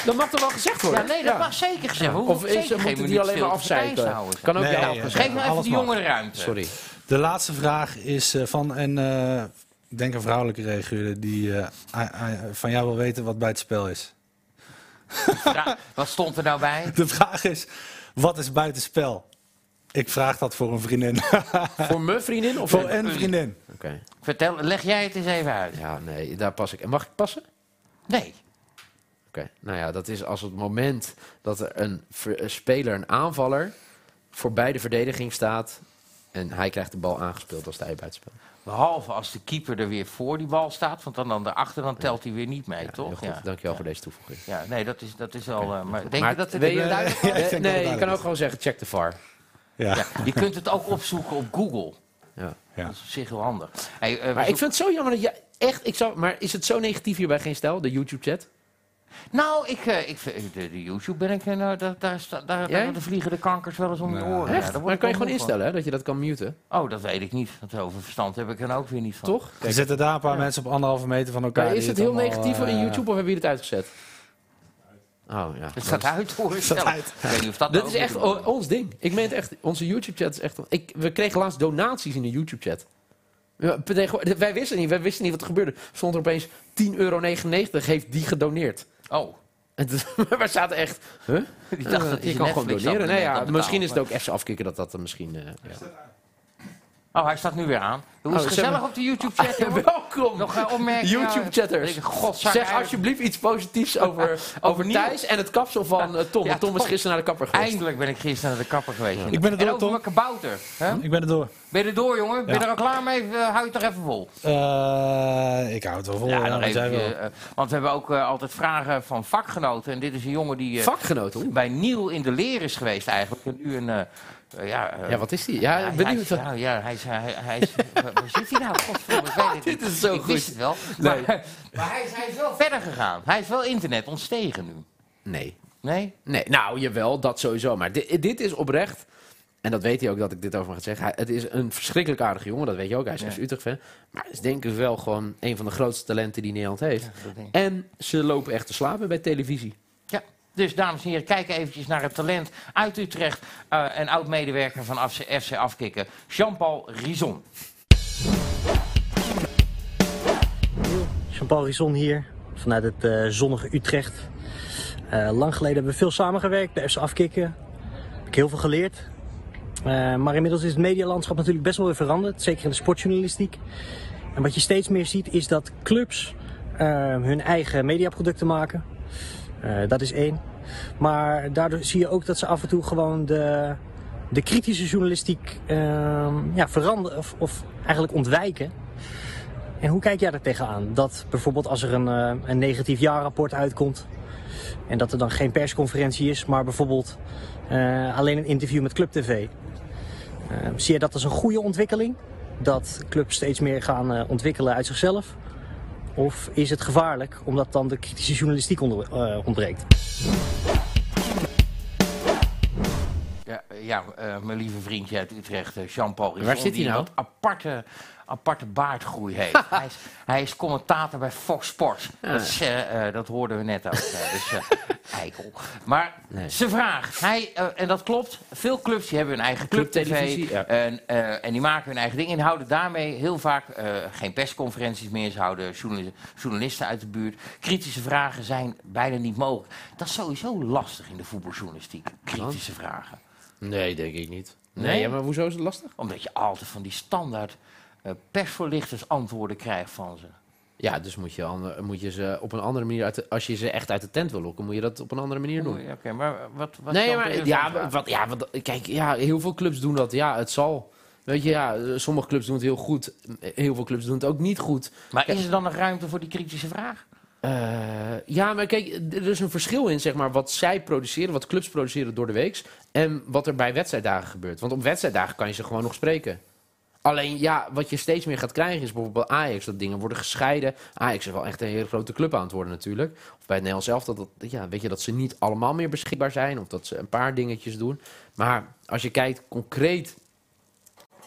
dat mag toch wel gezegd Ja, worden? nee, dat Ja. mag zeker gezegd. worden. Of Hoef ik is, zeker geen moeten die minuut alleen maar stilte voor Thijs te afzeiken? houden. Kan ook Nee, jou ja. gezegd Geef nou even Alles die mag. jongeren ruimte. [laughs] Sorry. De laatste vraag is eh, van een, eh, ik denk een vrouwelijke regisseur die eh, a- a- van jou wil weten wat bij het spel is. Vra- Wat stond er nou bij? De vraag is, wat is buitenspel? Ik vraag dat voor een vriendin. [laughs] [laughs] Voor mijn vriendin of voor een vriendin. Oké. Vertel, leg jij het eens even uit. Ja, nee, daar pas ik. En mag ik passen? Oké. Nee. Nou ja, dat is als het moment dat er een, ver- een speler, een aanvaller, voorbij de verdediging staat en hij krijgt de bal aangespeeld als hij buitenspel. Behalve als de keeper er weer voor die bal staat. Want dan, dan daarachter dan telt hij weer niet mee, Heel toch? goed. Ja. Dankjewel voor deze toevoeging. ja, nee, dat is, dat is wel... eh, maar denk Maar je dat het... weet je- duidelijk was? [laughs] ik denk dat het nee, je kan duidelijk ook is. gewoon zeggen, check de VAR. Ja. Ja, Dus je kunt het ook opzoeken op Google. Ja. Ja. Dat is op zich heel handig. Hey, eh, we Maar ik zoeken- vind het zo jammer dat je echt, ik zou, maar is het zo negatief hier bij Geen Stijl, de YouTube-chat? Nou, ik, eh, ik, vind- de, de YouTube ben ik... eh, nou, daar, daar, sta- daar, Jij? daar vliegen de kankers wel eens om de oren. Echt? Ja, daar word maar ik kan je wel gewoon moe van. instellen hè, dat je dat kan muten, Oh, dat weet ik niet. Dat over verstand heb ik er ook weer niet van. toch? Er zitten daar een paar mensen op anderhalve meter van elkaar. Maar is die het heel allemaal, negatief eh, in YouTube of hebben jullie het uitgezet? Oh, ja. Het staat uit hoor. ik zelf. uit. Ik weet niet of dat nou Dat ook is echt moet. o- ons ding. Ik meen het echt. Onze YouTube-chat is echt... Ik, we kregen laatst donaties in de YouTube-chat. Ja, tegenwoordig- Wij wisten niet, wij wisten niet wat er gebeurde. Stond er opeens 10,99 euro heeft die gedoneerd. Oh, En toen- [laughs] wij zaten echt... Huh? ik dacht dat Eh, je hij kan gewoon doneren. Nee, ja, misschien is het dat. ook FC afkicken dat dat er misschien... eh, ja. Oh, hij staat nu weer aan. Hoe is Oh, het zeg gezellig maar- op de [laughs] YouTube-chat? jongen? Welkom! Nog eh, opmerkingen? YouTube-chatters. God, Zeg alsjeblieft iets [laughs] positiefs over, over Niel. Thijs en het kapsel van eh, Tom. Ja, Want Tom is Tom. gisteren naar de kapper geweest. Eindelijk ben ik gisteren naar de kapper geweest. Ik ben er en door, over Tom. mijn kabouter. hè? Hm? Ik ben er door. Ben je er door, jongen? Ben je er al klaar mee? Eh, hou je het er even vol. Eh, ik hou het wel vol. Ja, nog dat jij eventjes, wel. eh, want we hebben ook eh, altijd vragen van vakgenoten. En dit is een jongen die eh, Vakgenoot, hoor. bij Niel in de leer is geweest eigenlijk. En nu een... eh, eh, ja, eh, Ja, wat is die? Ja, ja, hij benieuwd. is- nou, ja, hij is... Hij, hij is waar waar zit hij nou? Godverdomme, ik weet het [laughs] Dit niet. is zo ik goed. wist het wel. Nee. Maar, eh, maar hij, is, hij is wel verder gegaan. Hij is wel internet ontstegen nu. Nee. Nee? Nee, nou jawel, dat sowieso. Maar dit, dit is oprecht. En dat weet hij ook dat ik dit over hem ga zeggen. Hij- het is een verschrikkelijk aardige jongen, dat weet je ook. Hij is Ja. echt Utrecht fan. Maar het is denk ik wel gewoon een van de grootste talenten die Nederland heeft. dat denk ik. en ze lopen echt te slapen bij televisie. Ja. Dus dames en heren, kijk eventjes naar het talent uit Utrecht. eh, en oud-medewerker van FC, FC Afkikken, Jean-Paul Rizon. Jean-Paul Rison hier, vanuit het eh, zonnige Utrecht. Eh, lang geleden hebben we veel samengewerkt bij FC Afkikken. Heb ik heel veel geleerd. Eh, maar inmiddels is het medialandschap natuurlijk best wel weer veranderd, zeker in de sportjournalistiek. En wat je steeds meer ziet is dat clubs eh, hun eigen mediaproducten maken. Eh, dat is één. Maar daardoor zie je ook dat ze af en toe gewoon de, de kritische journalistiek eh, ja, veranderen of, of eigenlijk ontwijken. En hoe kijk jij er tegenaan? Dat bijvoorbeeld als er een, eh, een negatief jaarrapport uitkomt en dat er dan geen persconferentie is, maar bijvoorbeeld eh, alleen een interview met Club TV. Eh, zie je dat als een goede ontwikkeling? Dat clubs steeds meer gaan eh, ontwikkelen uit zichzelf? Of is het gevaarlijk omdat dan de kritische journalistiek onder, eh, ontbreekt? Ja, eh, ja eh, mijn lieve vriendje uit Utrecht, eh, Jean-Paul Rizon. Waar zit hij die nou? een wat aparte, aparte baardgroei [laughs] heeft. hij, is, hij is commentator bij Fox Sports. Dat, is, eh, eh, dat hoorden we net ook. [laughs] eh, dus eh, eikel. Maar Nee. zijn vraag. Hij, eh, en dat klopt. Veel clubs die hebben hun eigen club Clubtelevisie, ja. en, eh, en die maken hun eigen ding en houden daarmee heel vaak eh, geen persconferenties meer. Ze houden journali- journalisten uit de buurt. Kritische vragen zijn bijna niet mogelijk. Dat is sowieso lastig in de voetbaljournalistiek. Kritische vragen. Nee, denk ik niet. Nee, Nee? ja, maar hoezo is het lastig? Omdat je altijd van die standaard eh, persvoorlichters antwoorden krijgt van ze. Ja, dus moet je, ander- moet je ze op een andere manier... Uit de- als je ze echt uit de tent wil lokken, moet je dat op een andere manier doen. Oké, maar wat... Oh, wat nee, kan maar Perez dan ja, vragen? wat, ja, wat, kijk, ja, heel veel clubs doen dat. Ja, het zal. Weet je, ja, sommige clubs doen het heel goed. Heel veel clubs doen het ook niet goed. maar is er dan nog ruimte voor die kritische vraag? Eh, ja, maar kijk, d- er is een verschil in zeg maar, wat zij produceren, wat clubs produceren door de weeks. En wat er bij wedstrijddagen gebeurt. Want op wedstrijddagen kan je ze gewoon nog spreken. Alleen ja, wat je steeds meer gaat krijgen is bijvoorbeeld bij Ajax dat dingen worden gescheiden. Ajax is wel echt een hele grote club aan het worden natuurlijk. Of bij het Nederlands zelf dat, dat- ja, weet je, dat ze niet allemaal meer beschikbaar zijn. Of dat ze een paar dingetjes doen. Maar als je kijkt concreet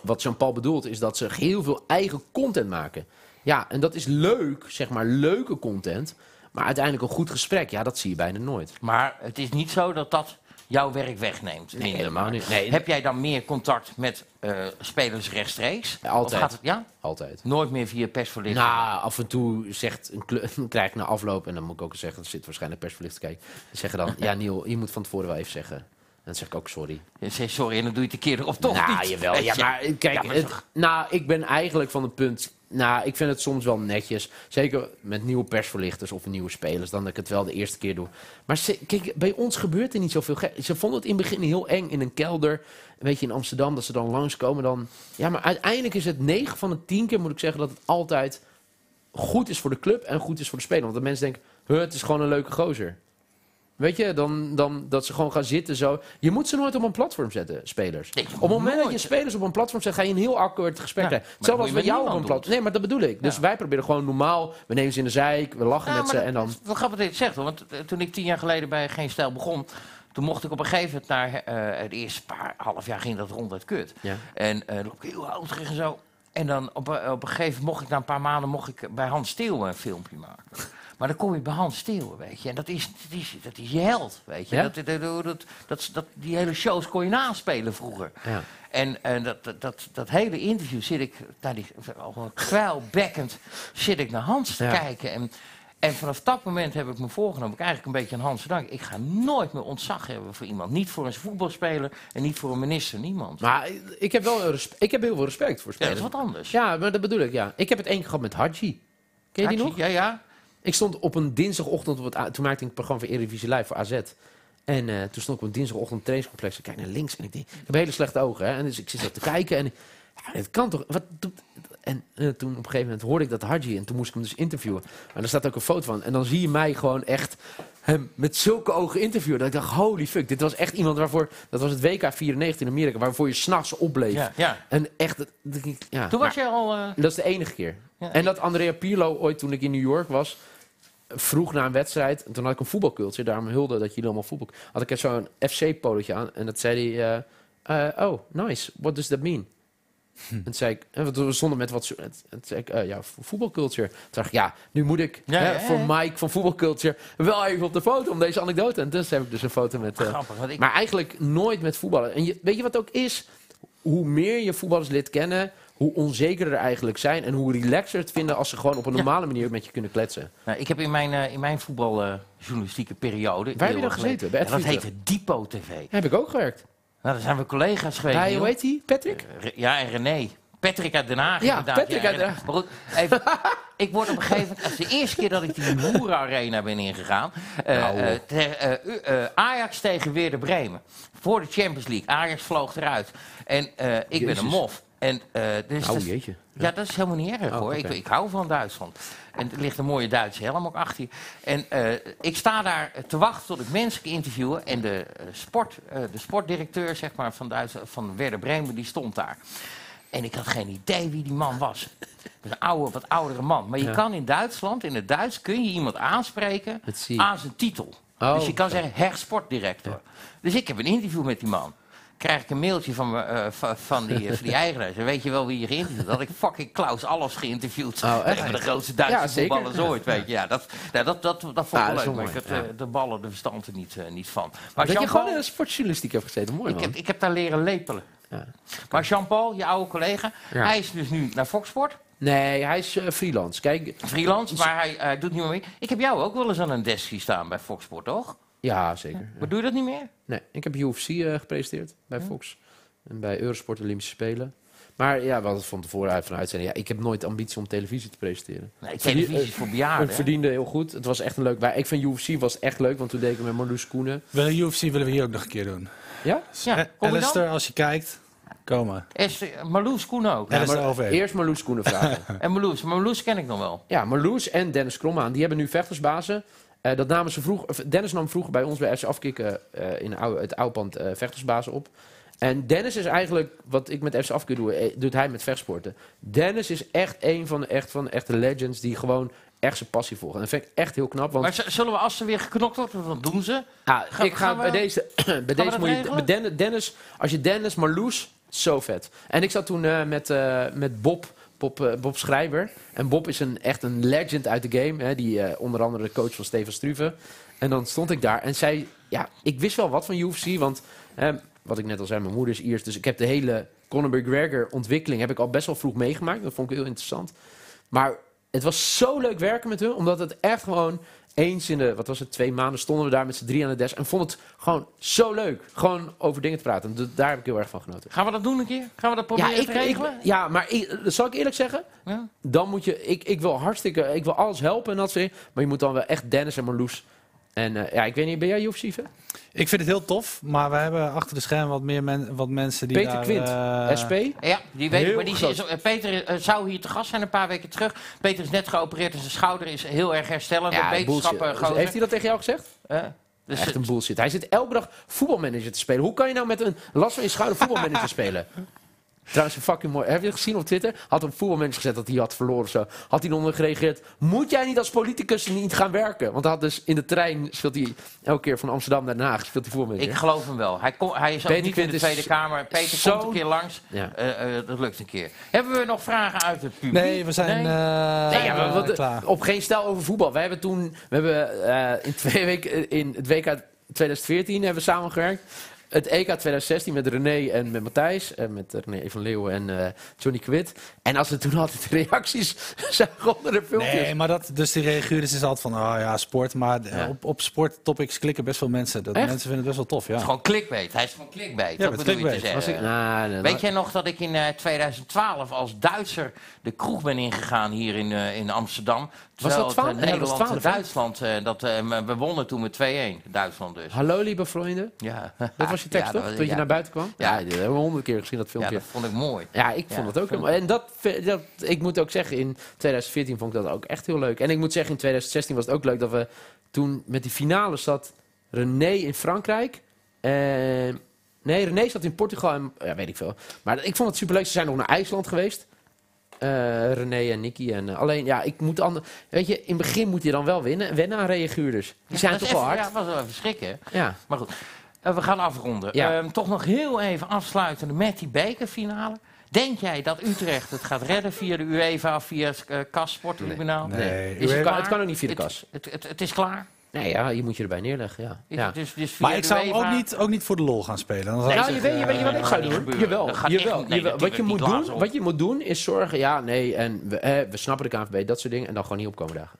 wat Jean-Paul bedoelt, is dat ze heel veel eigen content maken. Ja, en dat is leuk, zeg maar, leuke content. Maar uiteindelijk een goed gesprek, ja, dat zie je bijna nooit. Maar het is niet zo dat dat jouw werk wegneemt. Nee, Minder helemaal maar. niet. Nee. Heb jij dan meer contact met eh, spelers rechtstreeks? Ja, altijd. Of gaat het, ja? Altijd. Nooit meer via persvoorlichting? Nou, af en toe zegt een kle- [laughs] krijg ik na afloop, en dan moet ik ook zeggen, er zit waarschijnlijk persverlicht te kijken. Die Zeggen dan, ja, Niel, je moet van tevoren wel even zeggen. En dan zeg ik ook sorry. Je zegt Eh, sorry en dan doe je het een keer erop toch nou, niet. Jawel. Weet Ja, je. maar eh, kijk, Ja, maar het- nou, ik ben eigenlijk van het punt. Nou, ik vind het soms wel netjes. Zeker met nieuwe persverlichters of nieuwe spelers. Dan dat ik het wel de eerste keer doe. Maar ze- kijk, bij ons gebeurt er niet zoveel. gek. Ze vonden het in het begin heel eng in een kelder. Weet je, in Amsterdam, dat ze dan langskomen. Dan... Ja, maar uiteindelijk is het 9 van de 10 keer, moet ik zeggen, dat het altijd goed is voor de club en goed is voor de speler. Want de mensen denken, "Huh, het is gewoon een leuke gozer. Weet je, dan, dan dat ze gewoon gaan zitten zo. Je moet ze nooit op een platform zetten, spelers. Nee, op het moment dat je nooit. spelers op een platform zet, ga je een heel awkward gesprek Ja, krijgen. maar Hetzelfde dat moet als bij je met jou op een niemand platform. Nee, maar dat bedoel ik. Dus wij proberen gewoon normaal, we nemen ze in de zeik, we lachen Ja, met ze maar en dat dan... is wel grappig dat je het zegt, hoor. want eh, toen ik tien jaar geleden bij Geen Stijl begon, toen mocht ik op een gegeven moment naar eh, het eerste paar half jaar ging dat ronduit kut. Ja. En eh, dan loop ik heel oud terug en eh, zo. En dan op, een- op een gegeven moment mocht ik na een paar maanden mocht ik bij Hans Steeuw een filmpje maken. Maar dan kom je bij Hans Steeuwen, weet je. En dat is, dat is, dat is je held, weet je. Ja? Dat, dat, dat, dat- dat- die hele shows kon je naspelen vroeger. Ja. En, en dat, dat, dat, dat hele interview zit ik, naar die, al gewoon kwijlbekkend, zit ik naar Hans te Ja. kijken. En, en vanaf dat moment heb ik me voorgenomen, ik eigenlijk een beetje aan Hans te danken. Ik ga nooit meer ontzag hebben voor iemand. Niet voor een voetbalspeler en niet voor een minister, niemand. Maar ik heb wel respe- ik heb heel veel respect voor Ja, dat spelers. is wat anders. Ja, maar dat bedoel ik, ja. Ik heb het één keer gehad met Haji. Ken je die nog? Ja, ja. Ik stond op een dinsdagochtend, op het, A- toen maakte ik een programma voor Eredivisie Live voor AZ. En eh, toen stond ik op een dinsdagochtend op het trainingscomplex. Ik kijk naar links en ik denk, ik heb hele slechte ogen. Hè? En dus ik zit zo te kijken en ja, het kan toch, wat doet... En eh, toen op een gegeven moment hoorde ik dat Haji en toen moest ik hem dus interviewen. Maar daar staat ook een foto van. En dan zie je mij gewoon echt hem met zulke ogen interviewen. Dat ik dacht, holy fuck, dit was echt iemand waarvoor... Dat was het WK 94 in Amerika, waarvoor je s'nachts opbleef. ja, ja. En echt, dat- dat ik- ja. Toen was je al... eh, Dat is de enige keer. Ja. En dat Andrea Pirlo ooit, toen ik in New York was, vroeg na een wedstrijd. En toen had ik een voetbalcultuur, daarom hulde dat jullie allemaal voetbal. Had ik er zo'n FC-polotje aan en dat zei hij: eh, eh, Oh, nice, what does that mean? Hm. En toen zei ik, eh, want we stonden met wat. zo- En toen zei ik, eh, ja, vo- voetbalcultuur. Toen dacht ik, ja, nu moet ik Ja, hè, ja, ja, voor ja. Mike van voetbalcultuur wel even op de foto om deze anekdote. En dus heb ik dus een foto met. eh, Grappig, want ik- maar eigenlijk nooit met voetballen. En je, weet je wat ook is? Hoe meer je voetballers lid kennen, hoe onzekerder er eigenlijk zijn. En hoe relaxer het vinden als ze gewoon op een Ja. normale manier met je kunnen kletsen. Nou, ik heb in mijn, eh, in mijn voetbaljournalistieke periode... Waar heb je heel dan erg leuk- gezeten? Bij Ja, dat Advies? heette Diepo TV. Nou, Heb ik ook gewerkt. daar zijn we collega's geweest. Bij, joh. hoe heet die? Patrick? Re- Ja, en René. Patrick uit Den Haag. Ja, inderdaad. Patrick uit Den René. Maar goed, even, [laughs] ik word op een gegeven moment... als de eerste keer dat ik die Moer-arena ben ingegaan... eh, eh, ter- eh, u- eh, Ajax tegen Weerder Bremen. Voor de Champions League. Ajax vloog eruit. En eh, ik ben Jezus. een mof. En, eh, dus Oh dat- jeetje. ja, dat is helemaal niet erg Oh, hoor. oké. Ik, ik hou van Duitsland. En er ligt een mooie Duitse helm ook achter je. En eh, ik sta daar te wachten tot ik mensen kan interviewen. En de, eh, sport, eh, de sportdirecteur zeg maar, van, Duits, van Werder Bremen die stond daar. En ik had geen idee wie die man was. Dat is Een oude, wat oudere man. Maar je kan in Duitsland, in het Duits, kun je iemand aanspreken Met zie. aan zijn titel. Oh. Dus je kan zeggen, hersportdirector. Dus ik heb een interview met die man. Krijg ik een mailtje van, me, eh, va- van, die, eh, van die eigenaar. Ze weet je wel wie je geïnterviewd had? Ik fucking Klaus Alles geïnterviewd. Oh, echt? Een van de grootste Duitse Ja, zeker. voetballers ooit, weet je. Ja, dat, nou, dat, dat, dat, vond Ja, ik dat is wel wel leuk. Maar ik mooi, had eh, de ballen, de verstand er niet, eh, niet van. Maar Dat je Jean-Paul- gewoon in de sportjournalistiek hebt gezeten. Mooi ik man. heb, ik heb daar leren lepelen. Ja. Maar Jean-Paul, je oude collega, Ja. hij is dus nu naar Fox Sport. Nee, hij is eh, freelance. Kijk, Freelance, maar hij eh, doet niet meer mee. Ik heb jou ook wel eens aan een desk staan bij Fox Sport, toch? ja, zeker. Maar doe je dat niet meer? Nee, ik heb UFC eh, gepresenteerd bij Fox. En bij Eurosport Olympische Spelen. Maar ja, we hadden het van tevoren uit van uitzending. Ja, ik heb nooit ambitie om televisie te presenteren. Nee, Verdien- eh, televisie is voor bejaarden. ik hè? verdiende heel goed. Het was echt een leuk... Maar ik vind UFC was echt leuk, want toen deed ik het met Marloes Koenen. Wel, UFC willen we hier ook nog een keer doen. Ja? Ja, Eh, kom je Alistair, dan? als je kijkt, kom maar. Esther, Marloes Koen ook. Ja, Ja, Alistair maar over. Dus eerst Marloes Koenen [laughs] vragen. En Marloes, Marloes ken ik nog wel. Ja, Marloes en Dennis Krommaan, die hebben nu vechtersbazen. Eh, dat namen ze vroeg, of Dennis nam vroeger bij ons bij FC Afkikken eh, in oude- het oudpand eh, vechtersbazen op. En Dennis is eigenlijk, wat ik met FC Afkikken doe, eh, doet hij met vechtsporten. Dennis is echt een van de, echt, van de echte legends die gewoon echt zijn passie volgen. En dat vind ik echt heel knap, want Maar z- zullen we als ze weer geknokt wordt, wat doen ze? ah, ga- ik ga gaan we- bij deze, [clears throat] bij deze dat moet je, regelen? bij Dennis, Dennis, als je Dennis, Marloes, zo vet. En ik zat toen eh, met, eh, met Bob, Bob, eh, Bob Schrijver. En Bob is een, echt een legend uit de game. Hè, die eh, onder andere de coach van Steven Struve. En dan stond ik daar en zij, ja, ik wist wel wat van UFC, want eh, wat ik net al zei, mijn moeder is Iers, dus ik heb de hele Conor McGregor ontwikkeling heb ik al best wel vroeg meegemaakt. Dat vond ik heel interessant. Maar het was zo leuk werken met hun, omdat het echt gewoon eens in de, wat was het, twee maanden stonden we daar met z'n drie aan de desk en vond het gewoon zo leuk. Gewoon over dingen te praten. En d- daar heb ik heel erg van genoten. Gaan we dat doen een keer? Gaan we dat proberen te regelen? ja, maar ik, zal ik eerlijk zeggen, Ja. dan moet je, ik, ik wil hartstikke, ik wil alles helpen en dat soort dingen, maar je moet dan wel echt Dennis en Marloes. En eh, ja, ik weet niet, ben jij UFC fan? Ik vind het heel tof, maar we hebben achter de schermen wat meer men, wat mensen die Peter daar, Quint, eh, SP? Ja, die weet ik. Heel Maar die is, groot. is- eh, Peter eh, zou hier te gast zijn een paar weken terug. Peter is net geopereerd en zijn schouder is heel erg herstellend. Ja, bullshit. wetenschappen Dus Heeft hij dat tegen jou gezegd? dus Echt het- een [laughs] bullshit. Hij zit elke dag voetbalmanager te spelen. Hoe kan je nou met een last van je schouder voetbalmanager spelen? Trouwens, een fucking mooi. Heb je het gezien op Twitter? Had een voetbalmanager gezet dat hij had verloren of zo. Had hij onder gereageerd. Moet jij niet als politicus niet gaan werken? Want hij had dus in de trein speelt hij elke keer van Amsterdam naar Den Haag. Speelt hij voetbalmanager. Ik geloof hem wel. Hij, kom, hij is ook Peter niet in Quint de is Tweede Kamer. Peter zo- komt een keer langs. Ja. Eh, eh, dat lukt een keer. Hebben we nog vragen uit het publiek? Nee, we zijn Nee? eh, Nee, ja, maar wat- eh, klaar. op geen stijl over voetbal. We hebben toen, we hebben eh, in twee [laughs] weken, in het WK 2014 hebben we samengewerkt. Het E EK 2016 met René en met Matthijs. En met René van Leeuwen en eh, Johnny Quid. En als we toen altijd [laughs] reacties zagen onder de filmpjes. Nee, maar dat, dus die reaguurders is altijd van, oh ja, sport. Maar eh, Ja. op, op sporttopics klikken best veel mensen. Dat, Echt? mensen vinden het best wel tof, Het is ja. gewoon clickbait. Hij is gewoon clickbait. Ja, dat met bedoel je te clickbait. Was zeggen. ik- Nou, nou, Weet jij nog dat ik in eh, 2012 als Duitser de kroeg ben ingegaan hier in, eh, in Amsterdam? Terwijl dat het, eh, 12? Nee, dat was Nederland en 12, hè? Duitsland, eh, dat, eh, we wonnen toen met 2-1. Duitsland dus. Hallo lieve vrienden. Ja. Dat was je [laughs] tekst Ja, toch? dat was- Toen je ja. naar buiten kwam. Ja. Ja, dat hebben we honderd keer gezien dat Ja, filmpje. dat vond ik mooi. Ja, ik vond Ja, het ook vond helemaal. En dat, ve- dat, ik moet ook zeggen, in 2014 vond ik dat ook echt heel leuk. En ik moet zeggen, in 2016 was het ook leuk dat we toen met die finale zat René in Frankrijk. En, nee, René zat in Portugal en ja, weet ik veel. Maar ik vond het superleuk. Ze zijn nog naar IJsland geweest. Eh, René en Nicky. En, eh, alleen, ja, ik moet ander, Weet je, in het begin moet je dan wel winnen, wennen aan reaguurders. Die Ja, zijn dat is toch wel even- hard. Ja, dat was wel even schrikken. ja. Maar goed, eh, we gaan afronden. Ja. Ehm, toch nog heel even afsluiten met die bekerfinale. Denk jij dat Utrecht het gaat redden via de UEFA, via het eh, KAS Sporttribunaal? Nee. Nee. Dus het, kan, klaar? het kan ook niet via Het- de kas. Het, het, het is klaar. Nee, ja, je moet je erbij neerleggen. Ja. Is Ja. het Dus, dus via Maar ik de zou hem ook UEFA? niet, ook niet voor de lol gaan spelen. Dan zou ik nou, je zeggen, weet, je weet je wat eh, ik dat ga gaat niet doen? gebeuren. Jawel, Dat gaat echt jawel, niet. Nee, jawel. dat Wat, je doen we moet niet later doen, op. wat je moet doen is zorgen, ja, nee, en we, eh, we snappen de KNVB, dat soort dingen, en dan gewoon niet opkomen dagen.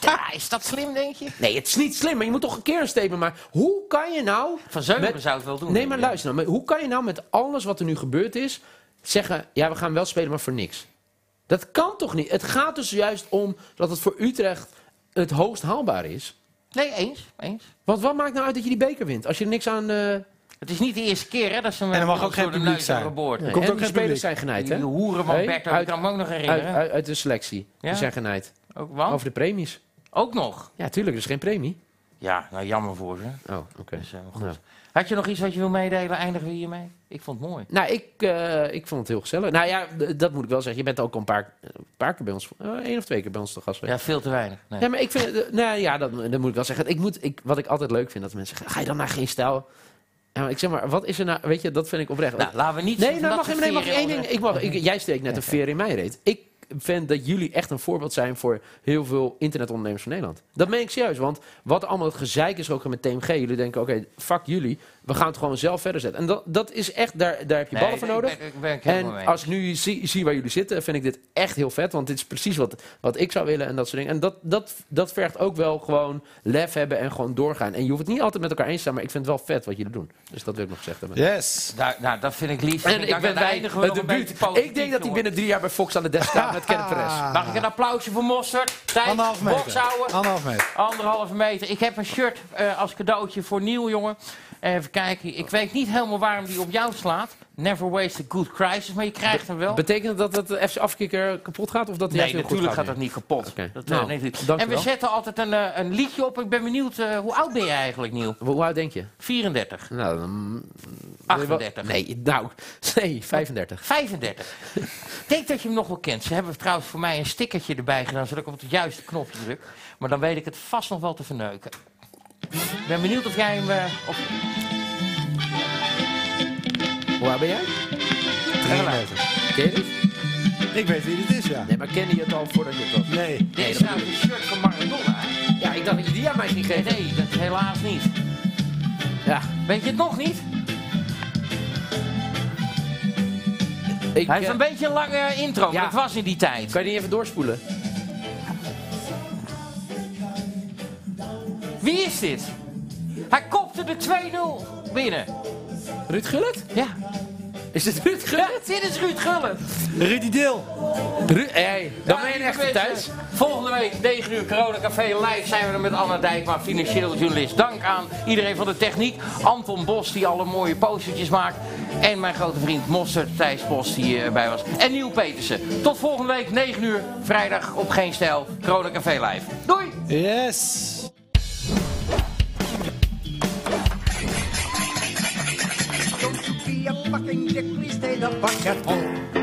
Ja, is dat slim, denk je? Nee, het is niet slim, maar je moet toch een keer een statement maken. Hoe kan je nou... Van Zeugen met- zou het wel doen. Nee, maar denk ik. luister nou, maar hoe kan je nou met alles wat er nu gebeurd is, zeggen, ja, we gaan wel spelen, maar voor niks? Dat kan toch niet? Het gaat dus juist om dat het voor Utrecht het hoogst haalbaar is. Nee, eens. eens. Want wat maakt nou uit dat je die beker wint? Als je er niks aan... eh Het is niet de eerste keer hè, dat ze hem En er mag door- ook geen door de publiek neus hebben zijn. geboord. nee, ook en geen die spelers publiek. zijn genaaid, Die hè? hoeren Nee, Berto, uit- ik kan me ook nog Uit, herinneren. uit, uit de selectie. Ja? Die zijn genaaid. ook, want? Over de premies. ook nog. Ja, tuurlijk, er is geen premie. Ja, nou jammer voor ze. Oh, oké. Dus, eh, maar goed. Nou. Had je nog iets wat je wil meedelen? Eindigen we hiermee? Ik vond het mooi. Nou, ik, eh, ik vond het heel gezellig. Nou ja, d- dat moet ik wel zeggen. Je bent ook al een paar, een paar keer bij ons, eh, één of twee keer bij ons te gast geweest. Ja, veel te weinig. Nee. Ja, maar ik vind, eh, nou ja, dat, dat moet ik wel zeggen. Ik moet, ik, wat ik altijd leuk vind, dat mensen zeggen, ga je dan naar geen stijl? Ja, maar ik zeg maar, wat is er nou, weet je, dat vind ik oprecht. Nou, laten we niet... nee, zitten nou, dat mag, we ik- nee, mag ik veren één ding, onder- ik mag, ik, jij steekt net een veer in mijn reet. Ik vind dat jullie echt een voorbeeld zijn voor heel veel internetondernemers van Nederland. Dat meen ik serieus, want wat allemaal het gezeik is ook met TMG. Jullie denken, oké, fuck jullie, we gaan het gewoon zelf verder zetten. En dat, dat is echt, daar, daar heb je Nee, ballen voor ik ben- nodig. Ik ben ik helemaal En mee. als ik nu zie, zie waar jullie zitten, vind ik dit echt heel vet. Want dit is precies wat, wat ik zou willen en dat soort dingen. En dat, dat, dat vergt ook wel gewoon lef hebben en gewoon doorgaan. En je hoeft het niet altijd met elkaar eens te zijn, maar ik vind het wel vet wat jullie doen. Dus dat wil ik nog gezegd hebben. Yes. Nou, nou, dat vind ik lief. En ik ben bij het debuut. Ik denk dat hij die binnen drie jaar bij Fox aan de desk staat met [laughs] Kenneth Perez. Mag ik een applausje voor Mostert? Tijd, Anderhalf Ah. meter. bokshouden. Anderhalf meter. Anderhalve meter. Ik heb een shirt eh, als cadeautje voor Nieuw, jongen. Even kijken. Ik weet niet helemaal waarom die op jou slaat. Never waste a good crisis, maar je krijgt hem wel. Betekent dat dat de FC Afkikker kapot gaat? Of dat hij Nee, juist heel goed natuurlijk gaat nu? dat niet kapot. Oké. Dat, Nou, eh, nee, natuurlijk. dank en u we wel. zetten altijd een, eh, een liedje op. Ik ben benieuwd, eh, hoe oud ben je eigenlijk, Nieuw? Hoe oud denk je? 34, Nou, dan- 38, Nee, nou, [laughs] nee, 35. 35. Ik denk dat je hem nog wel kent. Ze hebben trouwens voor mij een stickertje erbij gedaan, zodat ik op het juiste knopje druk. Maar dan weet ik het vast nog wel te verneuken. Ik ben benieuwd of jij hem... eh, of... Hoe oud ben jij? Ken je dit? Ik weet wie dit is, ja. Nee, maar kende je het al voordat je het was? Nee. Dit is dat nou een shirt van Maradona. hè? Ja, ik dacht dat je die aan mij ging Nee, geven. nee, dat helaas niet. Ja, Weet je het nog niet? ik, Hij heeft eh, een beetje een lange intro, maar Ja. dat was in die tijd. kan je die even doorspoelen? Wie is dit? Hij kopte de 2-0 binnen. Ruud Gullit? Ja. Is dit Ruud ja, Gullit? dit is Ruud Gullit. Rudy Deel. Ru- hey, dan Ja, ben je lieve echt mensen, thuis. Volgende week, 9 uur, Corona Café Live, zijn we er met Anna Dijkma, financieel journalist. Dank aan iedereen van de techniek. Anton Bos, die alle mooie postertjes maakt. En mijn grote vriend Mostert, Thijs Bos, die eh, erbij was. En Nieuw Petersen. Tot volgende week, 9 uur, vrijdag, op Geen Stijl, Corona Café Live. Doei! Yes. Don't you be a fucking in je knie stelen van het hol.